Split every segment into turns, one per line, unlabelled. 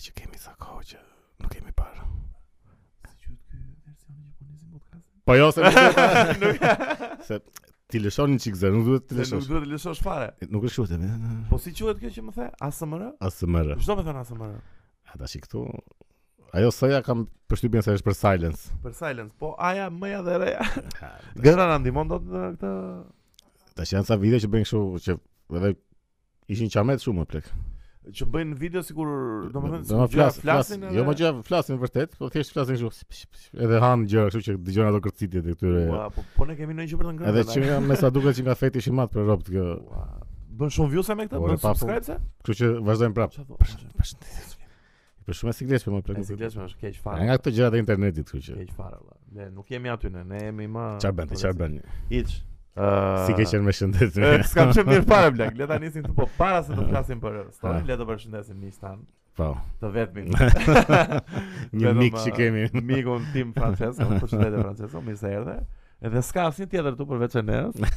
që kemi sa kohë që nuk kemi parë.
Si quhet ky versioni që po nisim podcastin?
Po jo se nuk se ti lëshon një çik zë, nuk duhet të
Se nuk
lëshosh.
duhet të lëshosh fare.
Nuk është kështu tani.
Po si quhet kjo që më the? ASMR?
ASMR.
Çdo më thon ASMR.
Ata shi këtu ajo soja kam përshtypjen se është për silence.
Për silence, po aja, mëja dhe reja.
Ha,
Gëra na ndihmon dot në këtë
Tash janë sa vide që bëjnë kështu që edhe ishin qamet shumë më plek.
që bëjnë video sikur domethënë
Do ma
sikur gjëra
flas- flasin, jo më gjëra flasin vërtet, po thjesht flasin kështu. psh, psh, psh, Edhe han gjëra kështu që dëgjojnë ato kërcitjet e këtyre.
Ua, po, po ne kemi ndonjë gjë për të ngrënë.
Edhe
na.
që nga me sa duket që nga feti ishin mat për robt kjo.
Ua, Bën shumë views me këtë,
Ore,
bën
pa, po.
subscribe se?
Kështu që vazhdojmë prapë.
Çfarë
Për shumë e sikletshme më plek.
E sikletshme është keq
Nga
fare.
nga këto gjërat e internetit, kështu që.
Keq fare valla. Ne nuk jemi aty ne, ne jemi më
Çfarë bën? ti, Çfarë
po,
bën?
Hiç. Ë
Si ke qenë me shëndet?
E, S'kam qenë mirë fare blek, le ta nisim këtu po para se të flasim
Ah.
për storin, le të përshëndesim miq tan,
Po.
të vetmin.
Një
Vetëm,
mik
eh,
që kemi.
Mikun tim Francesco, përshëndetje Francesco, mirë se erdhe. Edhe s'ka asnjë tjetër tu përveç Enes.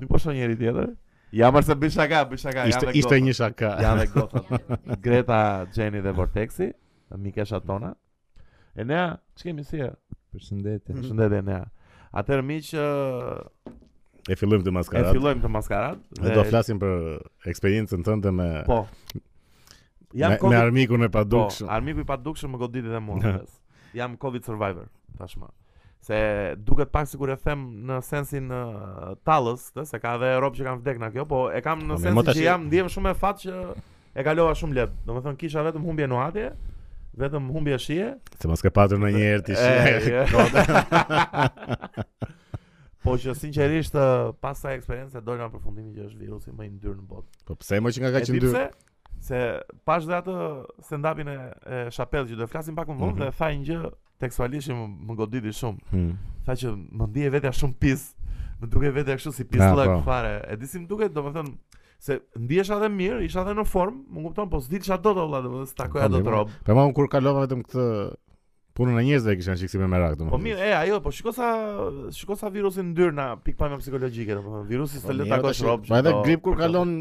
Ti po shoh njëri tjetër? Ja mërë se bëj shaka, bëj shaka,
Ishte
janë
ishte një shaka.
Janë dhe gotat. Greta, Gjeni dhe Vortexi, mikesha tona. Enea, që kemi si e?
Përshëndetje.
Përshëndetje Enea. Atëherë miq, ë,
E fillojmë të
e
maskarat.
fillojmë të maskarat.
Ne do flasim për eksperiencën tënde me
Po.
me,
Jam
me
Covid
armikun e
Po,
padukshëm.
armiku i padukshëm më goditi dhe mua. bes. Jam Covid survivor tashmë. Se duket pak sikur e them në sensin uh, tallës, të, se ka edhe Europë që kanë vdekë na kjo, po e kam
Po,
në
mirë, mo
sensin
tash-
që jam ndiem shumë e fat që e kalova shumë lehtë. Domethënë kisha vetëm humbje në atje, vetëm humbje shije.
Se mos ke patur në një herë ti shi.
E, po që sinqerisht ë, pas sa eksperiencë dojnë në përfundimin që është virusi më i ndyrë në botë.
Po pse më që nga ka
E di
qenë dy?
pse? Se pash dhe atë stand-upin e, e Chappelle që do flasim pak më vonë
Mhm.
dhe tha një gjë tekstualisht që më, më goditi shumë.
Hmm.
Tha që më ndije vetja shumë pis. Më duke vetja kështu si pis
Ja,
lëk
po.
fare. E di si më duket, domethënë se ndihesha edhe mirë, isha edhe në formë, më kupton, po s'dilsha dot valla, domethënë s'takoja
Po,
dot
mirë,
rob.
Po më unë kur kalova vetëm këtë punën e njerëzve e kisha në shikësi me merak domethënë.
Po mirë, e ajo, po shiko sa shiko sa virusi ndyr na pikpamje psikologjike, domethënë virusi s'të le takosh rob.
Po edhe grip kur kalon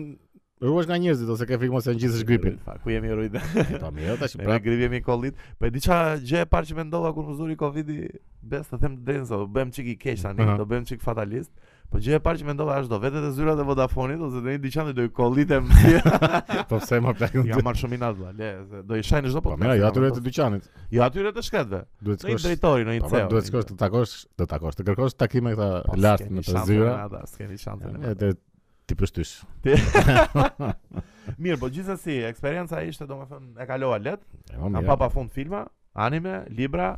ruhesh nga njerëzit ose ke frikë mos e ngjitesh gripin.
Ku jemi rujtë?
Po mirë, tash
Me
prap.
grip jemi kollit. Po e di qa gjë e parë që mendova kur më zuri Covidi, bes të them të drejtën, se do bëhem çik i keq tani,
Aha.
do bëhem çik fatalist. Po gjë e parë që mendova është do vetet e zyrat e Vodafonit ose do një dyqan dhe do i kollitem si.
Po pse më plak.
Ja marr shumë inat valla, le, se do i shajnë çdo
Po
podcast.
mirë, jo atyre të
dyqanit.
dyqanit.
Jo atyre të shkretëve.
Duhet
Në një
shkosh.
drejtori, në
Po,
një
pra,
CEO.
duhet shkosh të takosh, të takosh, të kërkosh takime
Po,
këta lart me të zyra.
S'keni shanse. me ata.
Edhe ti përshtysh.
Mirë, po gjithsesi, eksperienca ishte domethënë e kalova let.
E, po,
Kam
mirë.
pa pa fund filma, anime, libra,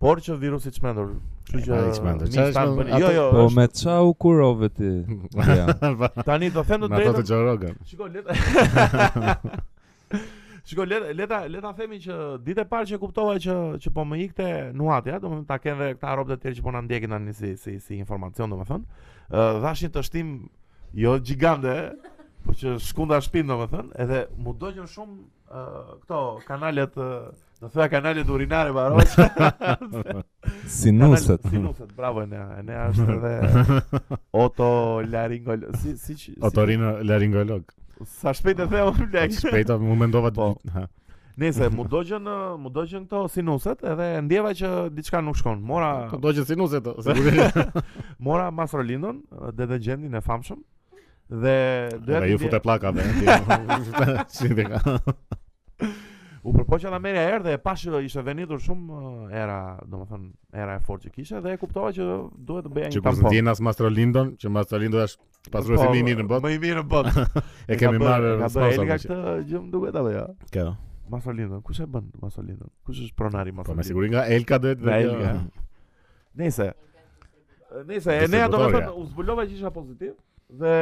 por që virusi çmendur. Kështu
E,
që
ai çmendur.
miq
Çfarë
tanë
çmendur?
bëni-
Ato-
Jo, jo,
Po
është-
me qa u kurove ti? Ja.
tani do them të
Me ato të
drejtën.
Joe Rogan.
Shiko, leta. Shiko, leta, leta, leta themi që ditë e parë që kuptova që që po më ikte nuatja, domethënë ta kem dhe këta robët e tjerë që po na ndjekin tani si si si informacion domethënë. Ë dhashin të shtim jo gjigande, po që shkunda shpinë domethënë, edhe mu doqën shumë ë këto kanalet ë, do thua kanalet urinare baroç.
Sinuset.
Kanal- Sinuset, bravo Enea. Enea është edhe otolaringol... Si, si, si,
Otorino laringolog.
Sa shpejt e them unë blek.
Shpejt mu mendova
Po.
po. ha.
Nëse mu dogjën, ë, mu dogjën këto sinuset edhe ndjeva që diçka nuk shkon. Mora
Po do që sinuse to, sigurisht.
mora Masrolindon, detergentin e famshëm dhe
Edhe Pra,
doja t'i
ju
ndje-
fute pllakave. Si ti ka.
u përpoqa ta merja erë dhe e pash që ishte venitur shumë ë, era, domethënë era e fortë që kishte dhe e kuptova që duhet të bëja
Që
një
kur
tampon.
ndjen as Mastrolindon, që Mastrolindo është pasuesi
Po,
më i mirë në botë,
Më i mirë në botë.
e kemi marrë
Ka bërë
sponsor.
Eli ka
që-
këtë gjë më duket apo jo?
Kjo.
Masolindën, kush e bën Masolindën? Kush është pronari
Po me
Masolindën?
siguri nga Elka duhet
Nga
dhe kjo.
Elka. Nëse Nëse e ne do të
Distributorja.
thonë u zbulova që isha pozitiv dhe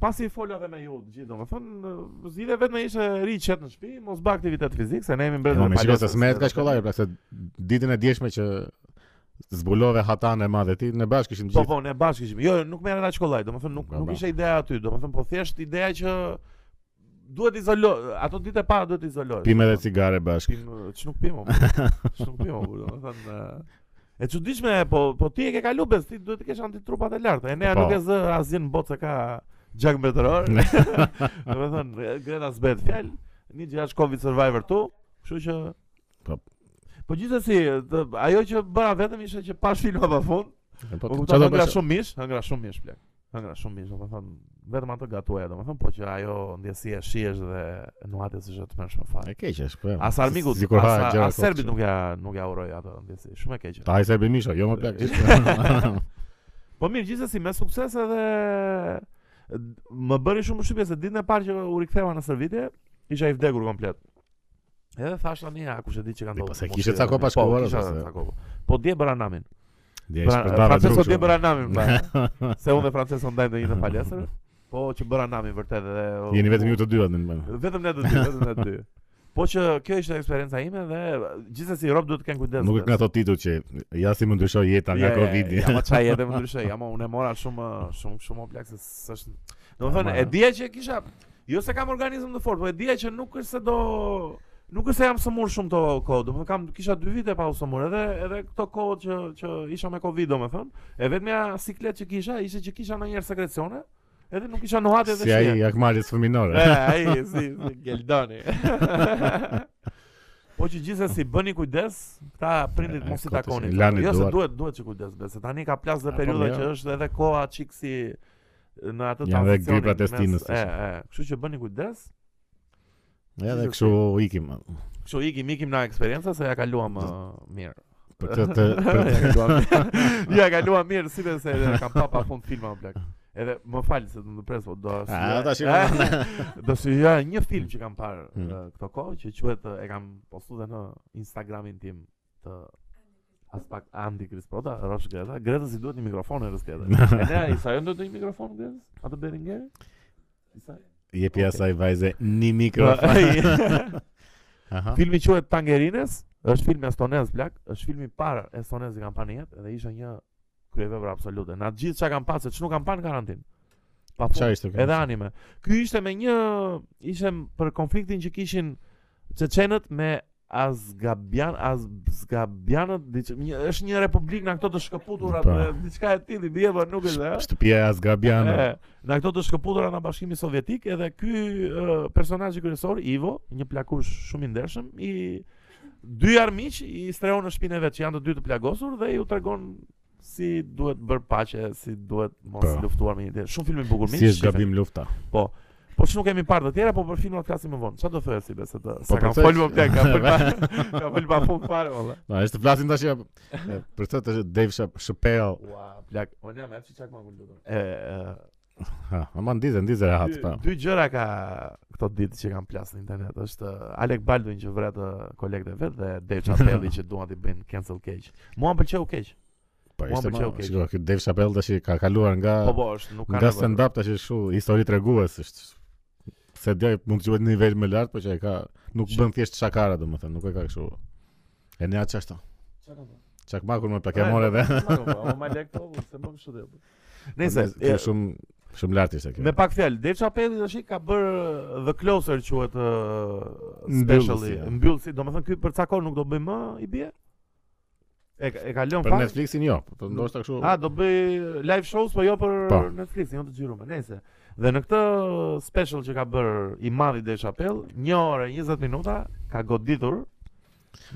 pasi fola edhe me ju të gjithë domethënë zgjidhe vetëm ishte ri qet në shtëpi, mos bë aktivitet fizik se ne jemi
Po
mbretë
me siguri se smet ka shkollaj, pra se ditën e djeshme që zbulove hatan e madhe ti, ne bashkë kishim
Po
gjithë.
po, ne bashkë ishim. Jo, nuk merren as shkollaj, domethënë nuk
Po,
nuk
po.
ishte ideja aty, domethënë po thjesht ideja që duhet izolo, ato ditë e para duhet izolohesh.
Pimë edhe cigare bashkë.
Pim, që nuk pim, o, burr. që nuk pim, o, burr, do të thënë... E çuditshme, po po ti e ke kalu bes, ti duhet të kesh antitrupat e larta. E nea
Po.
nuk e zë asgjë në botë se ka gjak mbretëror. do të thënë e, Greta s'bëhet fjalë. një gjashtë Covid Survivor tu, kështu që
Po.
Po gjithsesi, të- ajo që bëra vetëm ishte që pash filma pa fund.
Po
Po kuptoj,
çfarë do
hëngra
bësh?
shumë mish, hëngra shumë mish plak. Hëngra shumë mish, domethënë vetëm atë gatuaja domethënë, po që ajo ndjesia shihesh dhe nuhatja s'është të mërshme
E
fare.
keq është, po.
As armikut,
sikur ha
as,
gjëra
as
kohë
serbit
që-
nuk ja nuk ja uroj atë ndjesi, shumë e keqe.
Ta ai serbi misha, jo më
Pra,
plak.
Po mirë, gjithsesi me sukses edhe d- më bëri shumë shqipje se ditën e parë që u riktheva në Servitje, isha i vdekur komplet. Edhe thash tani, a kush e di që ka
Di,
ndodhur.
po se
mos
kishe
shkoj
ca
tani."
kopa shkuar,
Po, kisha
ose-
ca kopa. Po dje bëra namin.
Dje
Pra-
është për brava
Francesco
druk.
dje bëra namin, pra. Se unë dhe Francesco ndajmë në një në palestër. Po që bëra namin vërtet dhe
Jeni vetëm ju të dyat në mëngjes.
Vetëm ne të dy, vetëm ne të dy. Po që kjo ishte eksperienca ime dhe gjithsesi rob duhet të kenë kujdes.
Nuk e kanë ato titull që ja si më ndryshoi jeta nga Covidi.
Ja, ma çaj edhe më ndryshoj. Ja, ma unë e mora shumë eh, shumë shumë o plak se s'është. Domethënë
Ama-
e dija që kisha jo se kam organizëm të fortë, po e dija që nuk është se do Nuk është se jam sëmur shumë të kohë, domethënë kam kisha 2 vite pa u sëmur, edhe edhe këto kohë që që isha me Covid domethënë, e vetmja siklet që kisha ishte që kisha ndonjëherë sekrecione, edhe nuk isha nuhatje dhe
Si ai Akmalis
E,
fëminore.
ai, si, si Geldani. po që gjithsesi bëni kujdes, këta prindit
E,
mos i
kotë
takoni.
si lani
Jo se
duart.
duhet, duhet që kujdes, be, se tani ka plas dhe
E, po,
periudha
mirë.
që është edhe koha çik si në atë
Janë dhe
tranzicionin
griprat e
mes-
stinës,
E,
thoshe.
e, kështu që bëni kujdes.
Ja, dhe kështu ikim.
Kështu ikim ikim na eksperjenca se ja kaluam uh, mirë.
Për të të për
ja
të-
kaluam. ja kaluam mirë, si se edhe kam pa pa fund filma plak. Edhe më fal se të më pres, po do.
A,
syjoj-
tash i-
Do si ja një film që kam parë
Mm.
mm. këto kohë që quhet eh, e kam postuar në Instagramin tim të as pak Andi Krisprota, Rosh Greta, Greta si duhet një mikrofon e Rosh Greta. E ne, Isa, jo duhet një mikrofon Greta? Atë Beringeri? Isa?
jepi asaj vajze një mikrofon.
Mikrofon.
Aha.
Filmi quhet Tangerines, është film estonez plak, është filmi i parë estonez që kam parë në jetë dhe ishte një kryevepër absolute. Na gjithë çka kam pasë, ç'nuk kam parë në karantinë. Pa fund.
Çfarë ishte kjo?
Edhe anime. Ky ishte me një ishte m- për konfliktin që kishin çeçenët me Azgabian, Azgabianët, diç- një, është një republikë nga këto të shkëputura,
Po.
dhe diçka e tillë, dje po nuk e
Sh-
dhe.
Shtëpia e Azgabiana.
E, nga këto të shkëputura nga Bashkimi Sovjetik, edhe ky uh, personazh kryesor Ivo, një plakush shumë i ndershëm, i dy armiq i streon në shtëpinë e vet që janë të dy të plagosur dhe ju tregon si duhet bër paqe, si duhet mos
Po.
luftuar me një tjetrin. Shumë film i bukur,
Si
miq,
është
shifeni.
gabim lufta.
Po që nuk kemi parë të tjera, po për filmat flasim më vonë. Çfarë do thojë si besë të sa
Po,
kam
përcej-
folë më plek, kam folë pa, kam folë pa fund fare, valla.
Na, është të flasim tash ja, e, për këtë të Dave Chap- Chappelle.
Ua, plek. O ne, me që çak më kulluar. E, e,
Ha, ama ndize, ndize rehat,
dy,
po.
dy gjëra ka këto ditë që kam plas në internet. Është e, Alec Baldwin që vret e, kolegët e vet dhe Dave Chappelle që duan t'i bëjnë cancel keq. Mua m'pëlqeu keq.
Po
mua
ishte
m'pëlqeu
ma-
keq.
shiko, ky Dave Chappelle tash i ka kaluar nga
Po po, është nuk ka
nga
nevojë.
stand up tash është shumë histori tregues është. Se dje mund të quhet në nivel më lart, po që e ka nuk bën thjesht shakara domethënë, nuk e ka kështu. E ne atë çashto.
Çfarë ka bërë?
Çakmakun më pak e more dhe.
Po, ma lek to, se më kështu dhe. jo. Nëse,
Ky
e,
shumë shumë lart ishte kjo.
Me pak fjalë, Dave Chappelle tash i ka bër uh, The Closer quhet uh, specially,
Mbyllësi, ja.
mbyllësi, domethënë ky për ca kohë nuk do bëj më i bie. E ka- e kalon
Për
fare.
Netflixin jo, po ndoshta kështu.
A do bëj live shows po jo për
Po.
Netflix, jo të xhirum, nëse. Dhe në këtë special që ka bër i madhi Dave Chappelle, 1 orë e 20 minuta ka goditur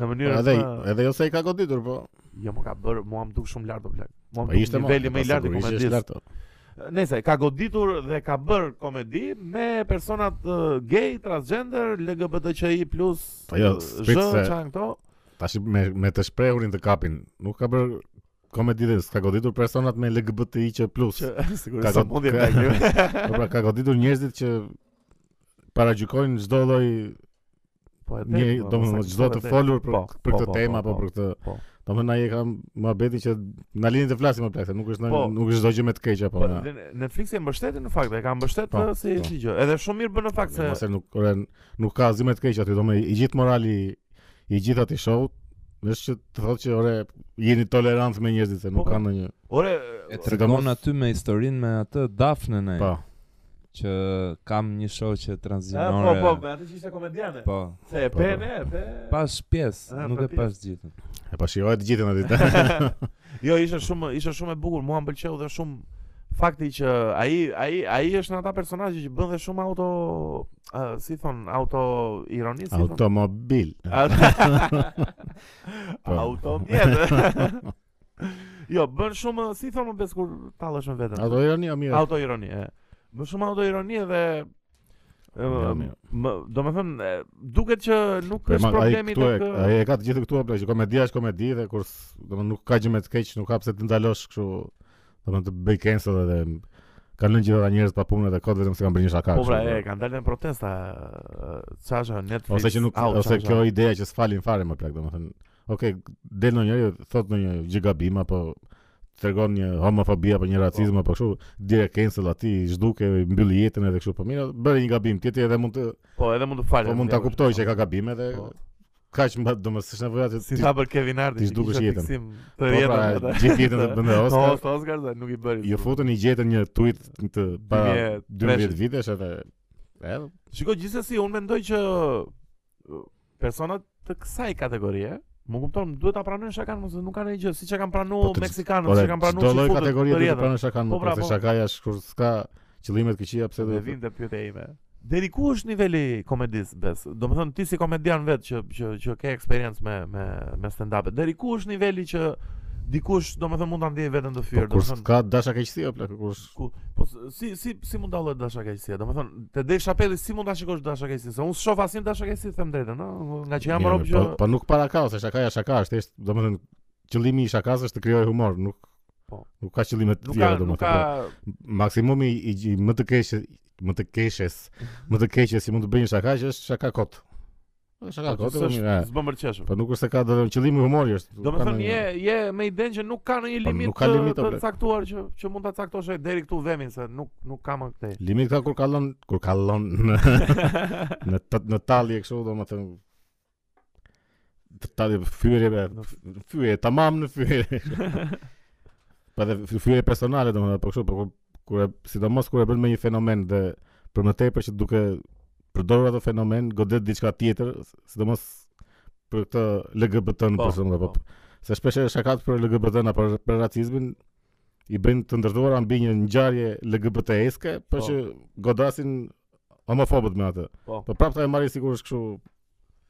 në mënyrë
Edhe
të
edhe jo se i ka goditur, po.
jo më ka bër, mua më duk shumë lart o plak. Mua
Po
më duk
mo-
niveli më i
po,
lartë i
sigurisht është
komedisë.
lart, o.
Nëse ka goditur dhe ka bër komedi me personat uh, gay, transgender, LGBTQI+,
Po jo,
uh,
s'prit
zhë,
se-
çan këto.
Tash me me të shprehurin të kapin, nuk ka bër komedi dhe s'ka goditur personat me LGBTI që plus.
Që
Ka
sigurisht sa
god-
mundi
ka-
ka kjo.
Po pra ka goditur njerëzit që paragjykojnë çdo lloj
Po e
një,
drejtë, po,
domethënë
mos e
çdo të
kuptoj,
folur për
Po,
për
po,
këtë
po,
temë
po,
apo për këtë.
po.
Domethënë ai ka muhabetin që na lini të flasim më pak, se nuk është
Po.
ndonjë- nuk është çdo gjë me të keq apo.
Po,
na.
dhe Netflixi e mbështeti në fakt, e ka mbështet
Po,
uh, si
po.
si gjë. Edhe shumë mirë bën në fakt se
Mos e nuk ore, nuk ka asgjë më të keq aty, domethënë i gjithë morali i gjithë atij show është që të thotë që ore jeni tolerancë me njerëzit se nuk
Po, po.
ka ndonjë.
ore
E
të-
tregon
Sidomos-
aty me historinë me atë Dafnën e
Po.
që kam një shoqe
Ah, po
tranzicionore.
po, me atë që ishte komediane.
po.
Se e
po,
pe
po.
ne, e pe.
Pash pjesë,
Ah,
nuk
për
e po pash gjithën.
E po pa shijoj të gjithën aty.
jo, ishte shumë ishte shumë e bukur, mua m'pëlqeu dhe shumë fakti që ai ai ai është në ata personazhe që bën dhe shumë auto ë, si thon auto ironi si thon
Automobil. Po.
auto mjet. jo, bën shumë si thon më bes kur tallesh me veten.
Auto ironi o mirë.
Auto ironi, e. Bën shumë auto ironi dhe
Ja, mirë.
Më, do me thëmë, e, duket që nuk
Po,
është
ma- ai
problemi
këtu e-
nuk, uh, e,
ai e ka të gjithë këtu apo që komedia është komedi dhe kur s- domethënë nuk ka gjë me të keq, nuk ka pse të ndalosh kështu domethënë të bëj cancel edhe kanë lënë gjithë ata njerëz pa punë dhe kod vetëm se kanë bërë një shaka.
Po
kështu,
pra,
dhe-
e, kanë dalë në protesta Qasha, Netflix
jo. Ose që nuk
au,
ose
çfarë,
kjo ideja që s'falin fare më plak, domethënë, okay, del ndonjëri thot ndonjë gjë gabim apo tregon një homofobi apo një racizëm apo kështu, direkt cancel aty, zhduke, mbyll jetën edhe kështu. Po mirë, bëri një gabim, tjetri edhe mund të
çfarë. Po edhe mund të falë
po mund ta kuptoj që e ka gabime dhe
Po.
kaq më domethënë s'është nevoja të
Si tha për Kevin Hardy
ti
që
zhdukesh
kishte
jetën.
fiksim
Po
Të jetën
pra, gjithë jetën të bënte
Oscar
Oscar. Jo,
Oscar, Oscar dhe nuk i bëri
Ju futën i gjetën një tweet të para
2013.
12 vitesh edhe edhe
Shiko, gjithsesi unë mendoj që uh, personat të kësaj kategorie, më kupton, duhet ta pranojnë shakan, mos nuk kanë asgjë, siç e kanë
Po
pranuar
të-
meksikanët, siç e kanë pranuar
lloj
çifutët
kategorie
të
do të
rjedhën.
pranë shakan më
Po, pra,
pas
po.
shakaja është kur s'ka qëllime të këqija pse
Dhe
do të
vim te pyetja ime. Deri ku është niveli i komedisë bes? Domethënë ti si komedian vetë që që që ke eksperiencë me me me stand-up. Deri ku është niveli që dikush domethënë mund ta ndjejë veten të
Po
fyrë,
kur
domethënë
s'ka dasha keqësi apo kur s-
ku po s- si si si mund dallet dashakësia? Domethënë te Dave Chappelle si mund ta shikosh dashakësinë? Se unë shoh asim dashakësi them drejtën, ëh, nga që jam
Mirë,
rob
po,
që
po nuk para ka ose shakaja shaka është thjesht domethënë qëllimi i shakas është të krijojë humor, nuk
Po.
nuk ka qëllime të
Nuk
tjera
ka, nuk
domethënë.
ka,
po. Maksimumi i i- më të keq më të keqes, më të keqes si mund të bëjë një shaka që është shaka kot. Është Shaka kot.
s'është-
po, mirë, e.
s'bën mërqeshëm.
Po nuk është se ka domethënë qëllimi humori është.
Do me
ka
thënë,
ndonjë-
je, je me i denë që nuk ka në një
Po,
limit
nuk ka
të-
limit, o,
të
plak.
caktuar që, që mund të caktosh e deri këtu vemin, se nuk, nuk ka më këtej.
Limi këta kur kalon, kur kalon në në ta- në tallje kështu domethënë të tallje fyre be,
Në
fyre tamam në fyre. pa dhe fy- fyre personale domethënë, po kështu po kur- kur e- sidomos kur e bën me një fenomen dhe për më tepër që duke përdorur atë fenomen godet diçka tjetër, sidomos për këtë LGBT-n
Po,
për shembull apo
po.
se shpesh e shakat për LGBT-n apo për, për racizmin i bëjnë të ndërtuara mbi një ngjarje LGBT-eske, por
Po.
që godasin homofobët me atë.
Po.
Po prapë ta e marrin sigurisht kështu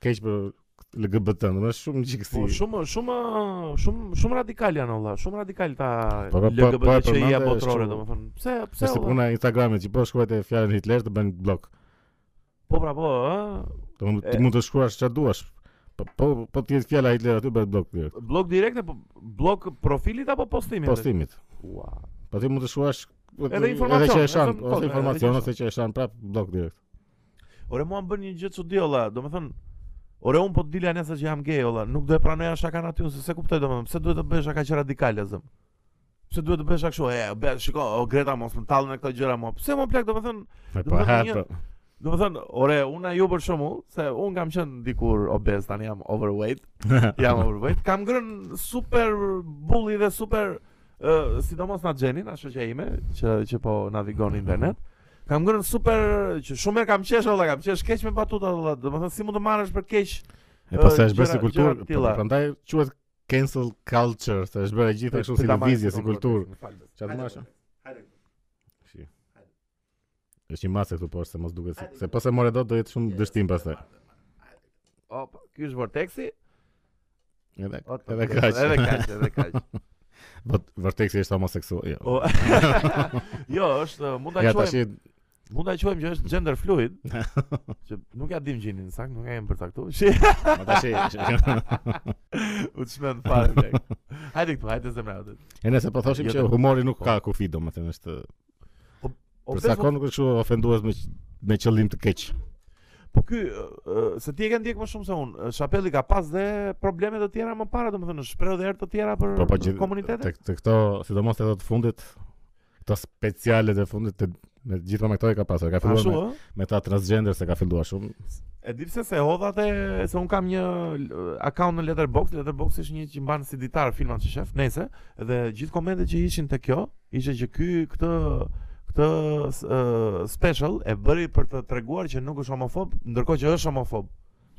keq për LGBT, do të thotë shumë gjikësi.
Po, shumë, shumë, shumë, shumë radikal janë, olla, shumë radikal ta
Po, po, po, po, e
LGBTQIA
përmende,
botërore,
është
do me thënë. Pse, pse,
Është
olla?
puna e Instagramit që po shkruajt e fjalën Hitler të bën blok.
Po, pra, po, ë?
Do mund-
E-
ti mund të shkruash çfarë duash. Po po po ti jetë fjala Hitler aty bëhet blok direkt.
Blok direkte, po, blok profilit apo postimit?
Postimit.
Ua.
Po ti mund të shkruash
informacion,
që
edhe
e shan,
po,
ose
edhe
informacion
që e
ose që e shan prap blok direkt.
Ore, mua më bën një gjë çudi, olla, do me thënë, Ore un po të dilja nesër që jam gay olla, nuk do e pranoja shakan aty unë, se se kuptoj domethënë, pse duhet të bëhesh aq radikal zëm? Pse duhet të bëhesh aq kështu? E, be, shiko, o Greta mos më tallën me këto gjëra mua. Pse më plak domethënë,
Po
Do të
ha,
thotë një-
po.
domethënë, ore, unë ju për shembull, se un kam qenë dikur obez tani jam overweight, jam overweight, kam ngrënë super bulli dhe super uh, sidomos na Xhenin, ashtu që ime, që që po
Mhm.
navigon internet. Kam ngrënë super që shumë herë kam qesh olla, kam qesh keq me batuta olla, domethënë si mund të marrësh për keq
E po se
Ë,
është bërë si
gjëra-
kulturë,
gjëra të
po,
tilla.
prandaj quhet cancel culture, se është bërë e gjitha kështu si lëvizje, si kulturë. Çfarë të marrësh? Shi. Është një masë këtu poshtë, se mos duket si- se pas e more dot do jetë shumë dështim pastaj.
Opa, ky është vorteksi.
Edhe
O,
edhe kaq.
Edhe kaq, edhe kaq.
Po vërteksi është homoseksual. Jo.
O, jo, është mund ta
Ja
quajmë,
tash
mund ta quajmë që është gender fluid, që nuk ja dim gjinin sakt, nuk e kem përcaktuar. Shi,
ma tash.
u çmend fare. bleg. Hajde këtu, hajde zemra. hajde.
E nëse po thoshim
Jo,
që
të-
humori nuk ka kufi domethënë është
O,
për
pse
sa kohë nuk është kështu ofendues me me qëllim të keq.
Po ky ë, ë, se ti e ke ndjek më shumë se unë. Shapelli ka pas dhe probleme të tjera më para, domethënë shpreh dhe herë të tjera për
Po po gjithë
komunitete.
Të, të këto, sidomos ato të fundit, këto speciale të fundit të me gjithmonë me këto e ka pasur. Ka filluar
Ashtu
me,
ë?
me ta transgender se ka filluar shumë.
E di pse se hodha te se un kam një l- account në Letterboxd, Letterboxd është një që mban si ditar filmat që shef, nejse, dhe gjithë komentet që ishin te kjo, ishte që ky këtë këtë s- ë, special e bëri për të treguar që nuk është homofob, ndërkohë që është homofob.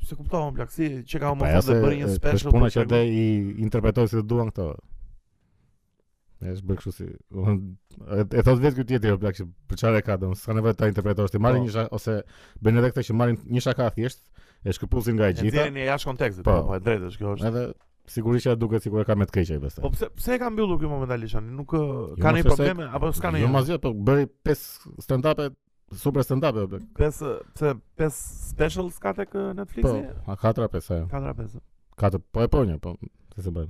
Se kuptova plak si që
Po
ka homofob
ja se
dhe bëri një
e,
special.
është puna
për
që
t'tregu-
dhe i interpretoj si të duan këto. E është bërë kështu si, domethënë e, e thot vetë ky tjetri o plak që për çfarë e ka domun, s'ka nevojë ta interpretosh ti marrin
Po.
një shaka ose bën edhe këtë që marrin një shaka thjesht, e shkëpusin nga
E
e gjitha.
nxjerrin jashtë kontekstit,
Po.
po, po e drejtë është kjo është.
Edhe sigurisht që ajo duket sikur e ka me të keqe pastaj.
Po pse pse e ka mbyllur ky momentalisht tani? Nuk ë,
Jo, mos
ka ndonjë
e se-
probleme apo
Jo
s'ka ndonjë?
mazë, po bëri 5 stand-upe, super stand-upe o plak.
Pes ë, pse pes specials ka tek ë,
Po,
Netflixi?
a katra pesa.
4 pesë.
Katër, po e ponja, po se se bën.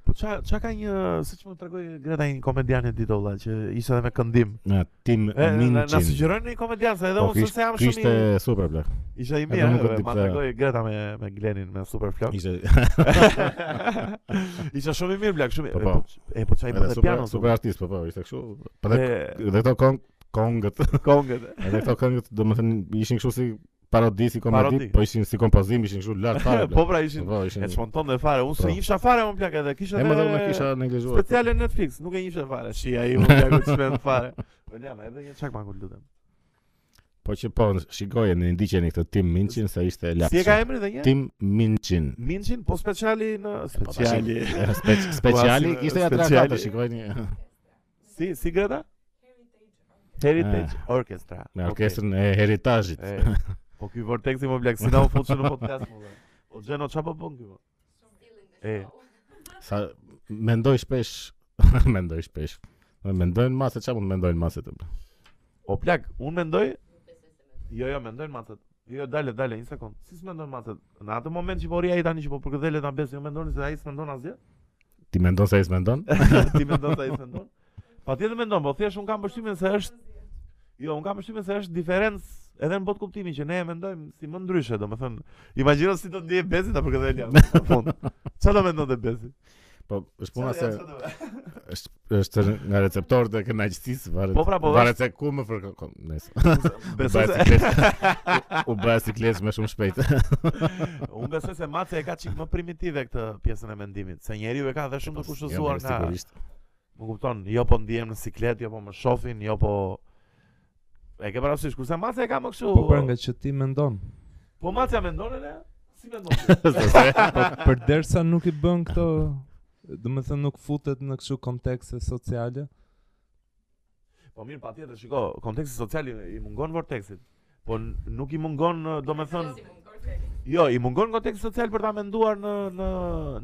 Po qa, qa ka një, si që më të regoj Greta një komedian e ditë vëlla që ishte edhe me këndim
Na tim
E, na, na
Minchin.
sugjerojnë një komedian, se edhe
Po,
unë se jam shumë
Kishte
i...
super plak.
Isha i
edhe
mirë,
nuk e
e,
di
ma
pse.
të regoj Greta me, me Glenin, me super flok
Ishte
Isha shumë i mirë, blak, shumë i...
Po,
e,
po.
po, E, po qa i
edhe
përte
super
piano
super artist, po po, ishte kështu. Po
Dhe
dhe dhe këto kong kongët,
kongët
edhe këto kongët, domethënë ishin kështu si parodi si komedi,
Parodi.
po ishin si kompozim, ishin kështu lart fare.
Po
plak. Po,
pra ishin
po,
E
ishin.
të shmonton dhe fare, unë se
Po.
njësha fare unë plak edhe kisha
E më dhënë kisha neglizhuar.
speciale Netflix, nuk e njësha fare Shia i unë plak u të shmenë fare Po njama, edhe një çakma kur lutem
Po që po, shikoje në ndiqeni këtë Tim Minchin se ishte lart.
Si e ka emri dhe një?
Tim Minchin.
Minchin, po speciali në...
Po,
Speciali
tash- spe- Speciali,
Ua, si-
ishte ja
Po, speciali.
trajtuar, shikojni
Si, si Greta? Heritage Orchestra.
Ah. me orkestrën e Heritazhit.
Okay. E, po ky Vortexi më blaq, si na u fut që në podcast më. valla. O Gjeno çfarë po bën ky? mo? E,
Sa mendoj shpesh, mendoj shpesh. Mendojnë masë, çfarë mund të mendojnë masë të
o plak, unë mendoj Jo, jo, mendojnë macet. Jo, dale, dale, një sekond. Si s'mendojnë macet? Në atë moment që po ri ai tani që po përkëdhelet na besë, jo mendoni se ai s'mendon asgjë?
Ti mendon se ai s'mendon?
Ti mendon se ai s'mendon? Patjetër mendon, po thjesht un kam përshtypjen se është Jo, un kam përshtypjen se është diferencë edhe në botë kuptimin që ne e mendojmë si më ndryshe, domethënë, imagjino si do të ndiej Bezi ta përkëdhelja në fund. Çfarë do mendonte Bezi?
Po, është puna se
Çfarë- çfarë do-
është është nga receptorët e kënaqësisë, varet.
Po, pra, po,
varet se ku më fërkon. Nëse.
Besoj
bëhet
se
U bëra siklet me shumë shpejt.
unë besoj se Mace e ka çik më primitive këtë pjesën e mendimit, se njeriu e ka dhe shumë të kushëzuar
Jo,
nga.
sigurisht.
Më kupton, jo po ndihem në siklet, jo po më shohin, jo po E ke parasysh, kurse Mace e ka më kështu.
Po për nga që ti mendon.
Po Mace a mendon e? Si mendon?
Se se-
Po për derisa nuk i bën këto, do të thënë nuk futet në kështu kontekste sociale.
Po mirë, patjetër, shiko, konteksti social i, i mungon vorteksit. Po n- nuk i mungon, ë, do me thënë... Jo, i mungon konteksti social për ta menduar në... në,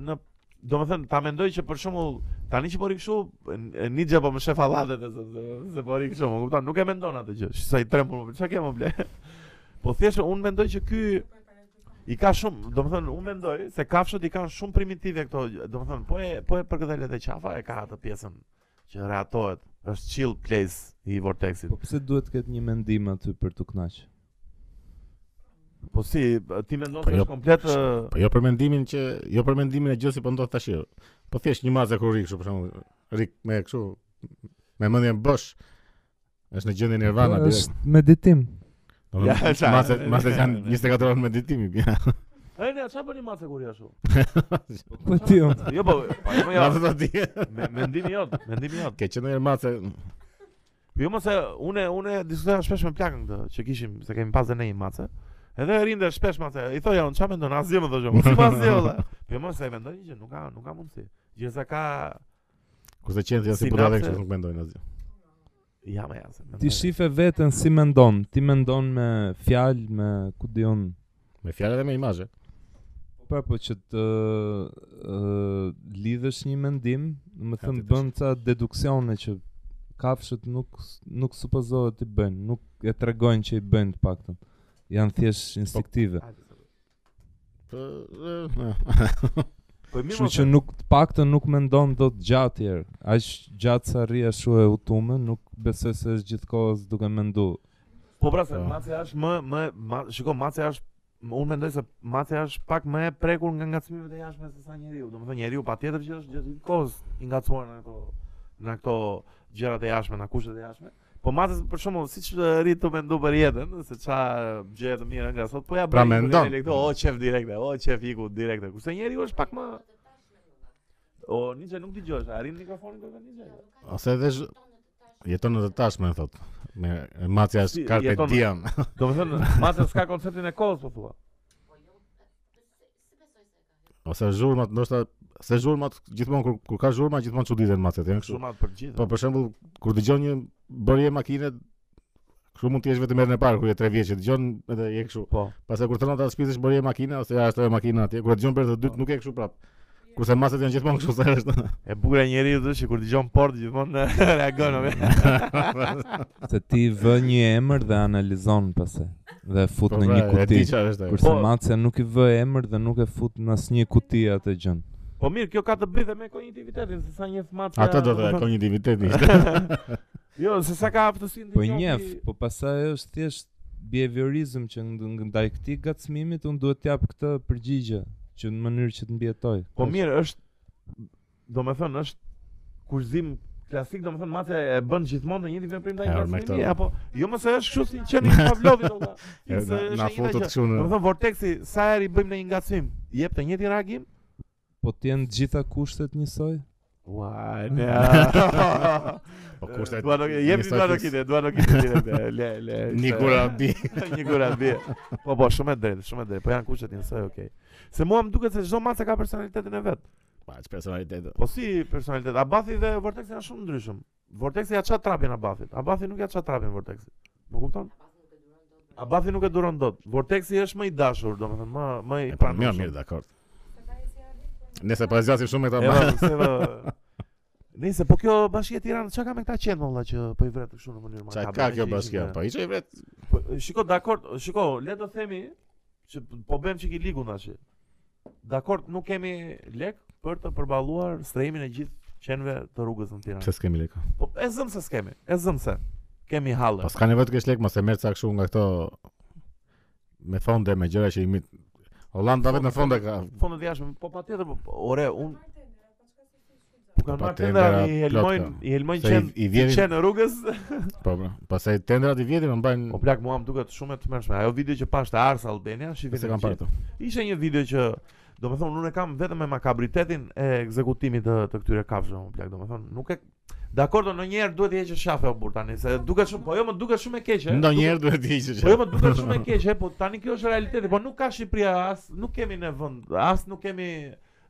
në do me thënë, ta mendoj që për shembull tani që po rikshu, një po më shef hallatet e se, se, se po rikshu, më kupton, nuk e mendon atë gjë, që sa i tremur, më, që ke më ble? po thjesht, unë mendoj që ky I ka shumë, do më thënë, unë mendoj se kafshët i kanë shumë primitive këto, do më thënë, po e, po e përkëdhelet e qafa e ka atë pjesën që rehatohet, është chill place i vortexit.
Po pse duhet të ketë një mendim aty për të kënaqë?
Po si, ti mendon
Po
se
jo,
është komplet ë,
Po jo për mendimin që jo për mendimin e gjë si po ndodh tash. jo. Po thjesht një mazë kur rik kështu për shembull, rik me kështu me mendjen bosh. Është në gjendje nirvana
Po,
direkt.
Është meditim.
Ja, Po,
Domethënë,
qa-
Mazë mazë janë 24 orë meditimi.
E ne, çfarë bëni mace kur je ashtu?
Po ti unë.
Jo, po, po jo,
Mazë
jo.
do di.
Me, mendimi jot, mendimi jot.
Ke qenë një mazë
Jo mos e unë unë diskutoja shpesh me plakën këtë që kishim se kemi pas dhe ne një mace. Edhe rinde shpesh mace. I thoja unë çfarë mendon asgjë më thoshë. Si pas gjë valla. Po mos e mendoj një gjë, nuk ka nuk ka mundsi. Gjësa ka
kurse qenë janë si
Sinapse-
budallë kështu nuk mendojnë asgjë.
ja më jasë.
Ti shife veten si mendon, ti mendon me fjalë, me ku di unë.
Me fjalë dhe me imazhe.
Po po që të uh, lidhësh një mendim, do të thënë
tjetër.
bën ca deduksione që kafshët nuk nuk supozohet të bëjnë, nuk e tregojnë që i bëjnë të paktën. Janë thjesht instinktive.
Po,
Po mirë
Kështu
mos.
që nuk të paktën nuk mendon dot gjatë herë. Aq gjatë sa rri ashtu e utume, nuk besoj se është gjithkohës duke mendu.
Po pra se
Po.
mace është më më ma- shiko mace është unë mendoj se mace është pak më e prekur nga ngacmimet e jashtme se sa njeriu. Domethënë njeriu patjetër që është gjithë kohës i ngacuar në ato në ato gjërat e jashtme, në kushtet e jashtme. Po mace për shembull siç e rrit të mendu për jetën, se ça gjë e të mirë nga sot, po ja
Pra
bëj
mendon.
për direkt, o çef direkte, o çef iku direkte. Kurse njeriu është pak më O, Ninja nuk dëgjosh, arrin mikrofonin këtë Ninja.
ose edhe zh- jeton në të tashme thot. Me macja
Si,
është carpe
jeton-
diem.
Domethënë, mace s'ka konceptin e kohës po thua.
Ose zhurmat ndoshta se zhurmat gjithmonë kur, kur ka zhurma gjithmonë çuditen macet, janë kështu.
Shumë atë për gjithë.
Po për shembull kur dëgjon një bërje makine kështu mund të jesh vetëm herën e parë kur je 3 vjeç, e dëgjon edhe je kështu.
po.
Pastaj kur trenon ta shpisësh bërje makine ose ja është makina atje, kur e dëgjon për të dytë nuk e kështu prap. Kurse macet janë gjithmonë kështu se është.
E bukur e njeriu është që kur dëgjon port gjithmonë reagon. o me.
Se ti vë një emër dhe analizon pastaj dhe e fut
Po,
në
pra,
një
e
kuti.
di çfarë është. ajo.
Kurse
Po.
Macja nuk i vë emër dhe nuk e fut në asnjë kuti atë gjën.
Po mirë, kjo ka të bëjë dhe me kognitivitetin, se sa njeh matë.
Atë do të kognitiviteti.
Jo, se sa ka aftësinë
Po njef, po pastaj është thjesht behaviorizëm që nd- nd- ndaj këtij gacmimit unë duhet t'jap këtë përgjigje që në mënyrë që të mbijetoj.
Po mirë, është do me thënë, është kushzim klasik, do me thënë, matë e bën gjithmonë të njëjtin veprim ndaj
E,
njerëzve
me
të
këtë.
mirë, apo jo më se është kështu si qeni i Pavlovit olla.
E,
se
na-
është
Na
e njëjta
futet
gjë.
kështu
Do me
në.
thënë vorteksi sa herë i bëjmë në një ngacmim, jep të njëjtin reagim.
Po të jenë gjitha kushtet njësoj?
Ua, ne.
Po kushtet.
Dua nuk jep
njësoj
dua nuk
fiks-
ide, dua nuk ide direkt. e, Le le.
Një
se-
gura bi.
një gura bie. Po po, shumë e drejtë, shumë e drejtë. Po janë kushtet njësoj, okay. Se mua më duket se çdo mace ka personalitetin e vet.
Pa që personalitet.
Po si personalitet? Abathi dhe Vortexi janë shumë ndryshëm. Vortexi ja çat trapin Abathit. Abathi nuk ja çat trapin Vortexit. Më kupton? Abathi nuk e duron dot. Vortexi është më i dashur, domethënë më më i
E pa Po, mirë, mirë, dakord. Nëse pa zgjasim shumë me këta
Eva,
ma-
pse vë- Nëse po kjo bashkia e Tiranës çka ka me këta qenë valla që po i vret kështu në mënyrë
Qa
makabre.
ka
me
kjo
që
bashkja?
ishin,
Po i që i vret.
Po, shiko, dakord, shiko, le të themi që p- po bëjmë çik i ligun tash. Dakord, nuk kemi lek për të përballuar strehimin e gjithë qenve të rrugës në Tiranë.
Pse s'kemi lekë?
Po e zëm se s'kemi, e zëm se. Kemi halle.
Po s'ka nevojë të kesh lekë, mos e merr ca kështu nga këto me fonde me gjëra që imit. Holanda vetë në fonde ka.
Fondët jashtëm, po patjetër, po po, ore, un Po kanë
Po,
marrë
tendera
tendera, i
plot
helmojnë,
kanë.
i helmojnë
Se i-
qen,
i
i
vjedhin-
qen në rrugës.
Po po. Pastaj tendrat i vjetin më mbajnë.
Po plak, mua më duket shumë e tmerrshme. Ajo video që pashte Ars Albania, shifin.
Se kanë parë këtu.
Ishte një video që Do me thonë, unë e kam vetëm me makabritetin e ekzekutimit të, të këtyre kafshëve, më plak, do me thonë, nuk e... Dakor, do në njerë duhet i heqë shafe o burr tani, se duket shumë, po jo më duket shumë e keqe.
Ndonjëherë duhet të hiqë.
duket- Po jo më duket shumë e keqe, po tani kjo është realiteti, po nuk ka Shqipëria as, nuk kemi në vend, as nuk kemi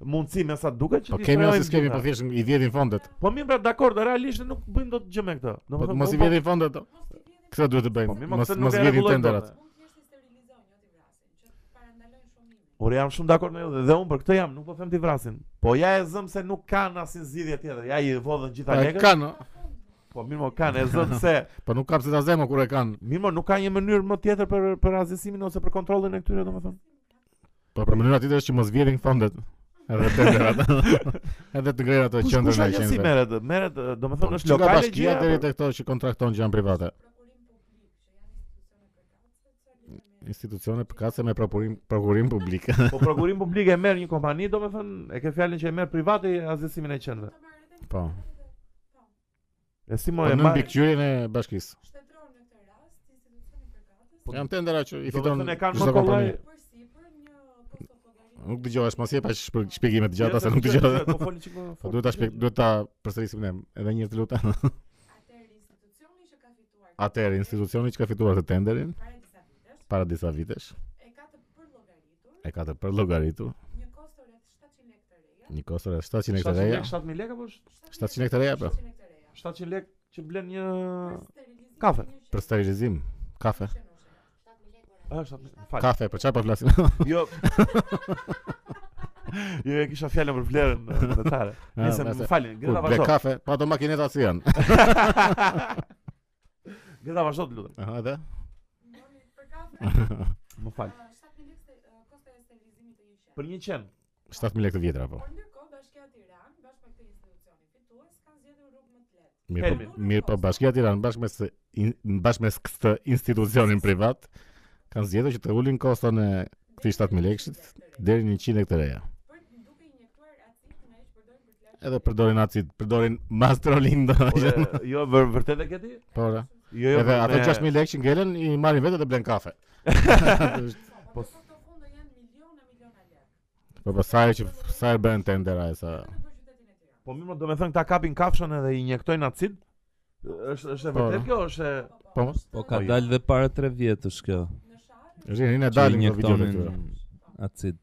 mundësi me sa duket që
Po
t'i
kemi ose
strehojmë
s'kemi, po
gjitha.
thjesht i vjedhin fondet.
Po mirë, pra, dakor, do realisht nuk bëjmë dot gjë me këtë. Do
Po
me thonë,
mos i
po-
vjedhin fondet. o. Këtë duhet të bëjmë.
Po mirë, ma
Mos
këtë nuk
mos
e po,
vjedhin
rregullojmë
tenderat.
dot. Ore jam shumë dakord me ju dhe, dhe unë për këtë jam, nuk po them ti vrasin. Po ja e zëm se nuk kanë asnjë zgjidhje tjetër. Ja i vodhën gjitha
Po e
lekët.
kanë, o.
Po mirë mo kanë, e zëm se
po nuk kap se ta zemë kur e kanë.
mirë mo nuk ka një mënyrë më tjetër për për azisimin ose për kontrollin e këtyre domethënë.
Po për mënyra tjetër është që mos vjedhin fondet. Edhe tenderat. Edhe të ngrejnë ato
Kush
qendrën
kush
e
ajo si
qendrës.
merret? Merret
Po
domethënë
që
është
ka
lokale
bashkia
gjë.
deri
apo-
te këto që kontrakton që janë private. Institucione përkatëse me prokurim prokurim publik.
Po prokurim publik e merr një kompani domethënë, e ke fjalën që e merr privati azisimin e qendrës.
po.
E si
Po
mo e
në
marr?
mbikëqyrjen e bashkisë.
Po-
Jam tendera që i fiton.
Domethënë e kanë
çdo
më kollaj.
kompani. Nuk dëgjova as masi pa shpër- shpjegime të gjata se nuk dëgjova.
Po foli çiko.
Po duhet ta shpjeg, duhet ta përsërisim ne edhe një herë të lutem. Atëherë institucioni që ka fituar të tenderin para disa vitesh e ka të për llogaritur një kosto rreth 700 lekë të reja.
7000 lekë apo është?
700 lekë të reja pra
700 lekë që blen një kafe.
për sterilizim, kafe.
Ah, 7000. Fal.
Kafe, për çfarë po flasim?
Jo. jo, e kisha fjalën për vlerën eh, monetare.
Ah,
Nëse
nëse-
më falin,
Kur
gjeta
ble
vazhdo.
kafe, pa ato makineta si janë.
Gjeta vazhdo të lutem.
Aha, edhe.
Më fal. Për një qen.
7000 lekë të vjetra po.
Por ndërkohë bashkia e Tiranë bashkë me këtë institucionin fitues kanë zgjedhur rrugë më të lehtë.
Mirë,
Helmi.
po, mirë po bashkia e Tiranës bashkë me së- in- bashkë me këtë institucionin privat kanë zgjedhur që të ulin koston e këtij 7000 lekësh deri në 100 lekë të reja.
Për duke injektuar acid nga ish përdorin për të lashtë.
Edhe përdorin acid, përdorin mastrolin do.
Ore, jo vër, vërtet e ke ti?
Po. ora.
Jo, jo.
Edhe
me-
ato 6000 lekë që ngelen i marrin vetë dhe blen kafe.
Po ndërkohë këto fonde janë miliona miliona lekë.
Po po sa herë që sa herë bën tender ai sa.
Vetëm për qytetin e Tiranës.
Po mirë, do të thënë këta kapin kafshën edhe i injektojnë acid. Është është e
Po,
vërtet kjo, është e-
Po po.
Po ka
Po, jo.
dalë dhe para 3 vjetësh kjo.
Rini na
që
dalin këto video të
injektonin
këtyre.
acid.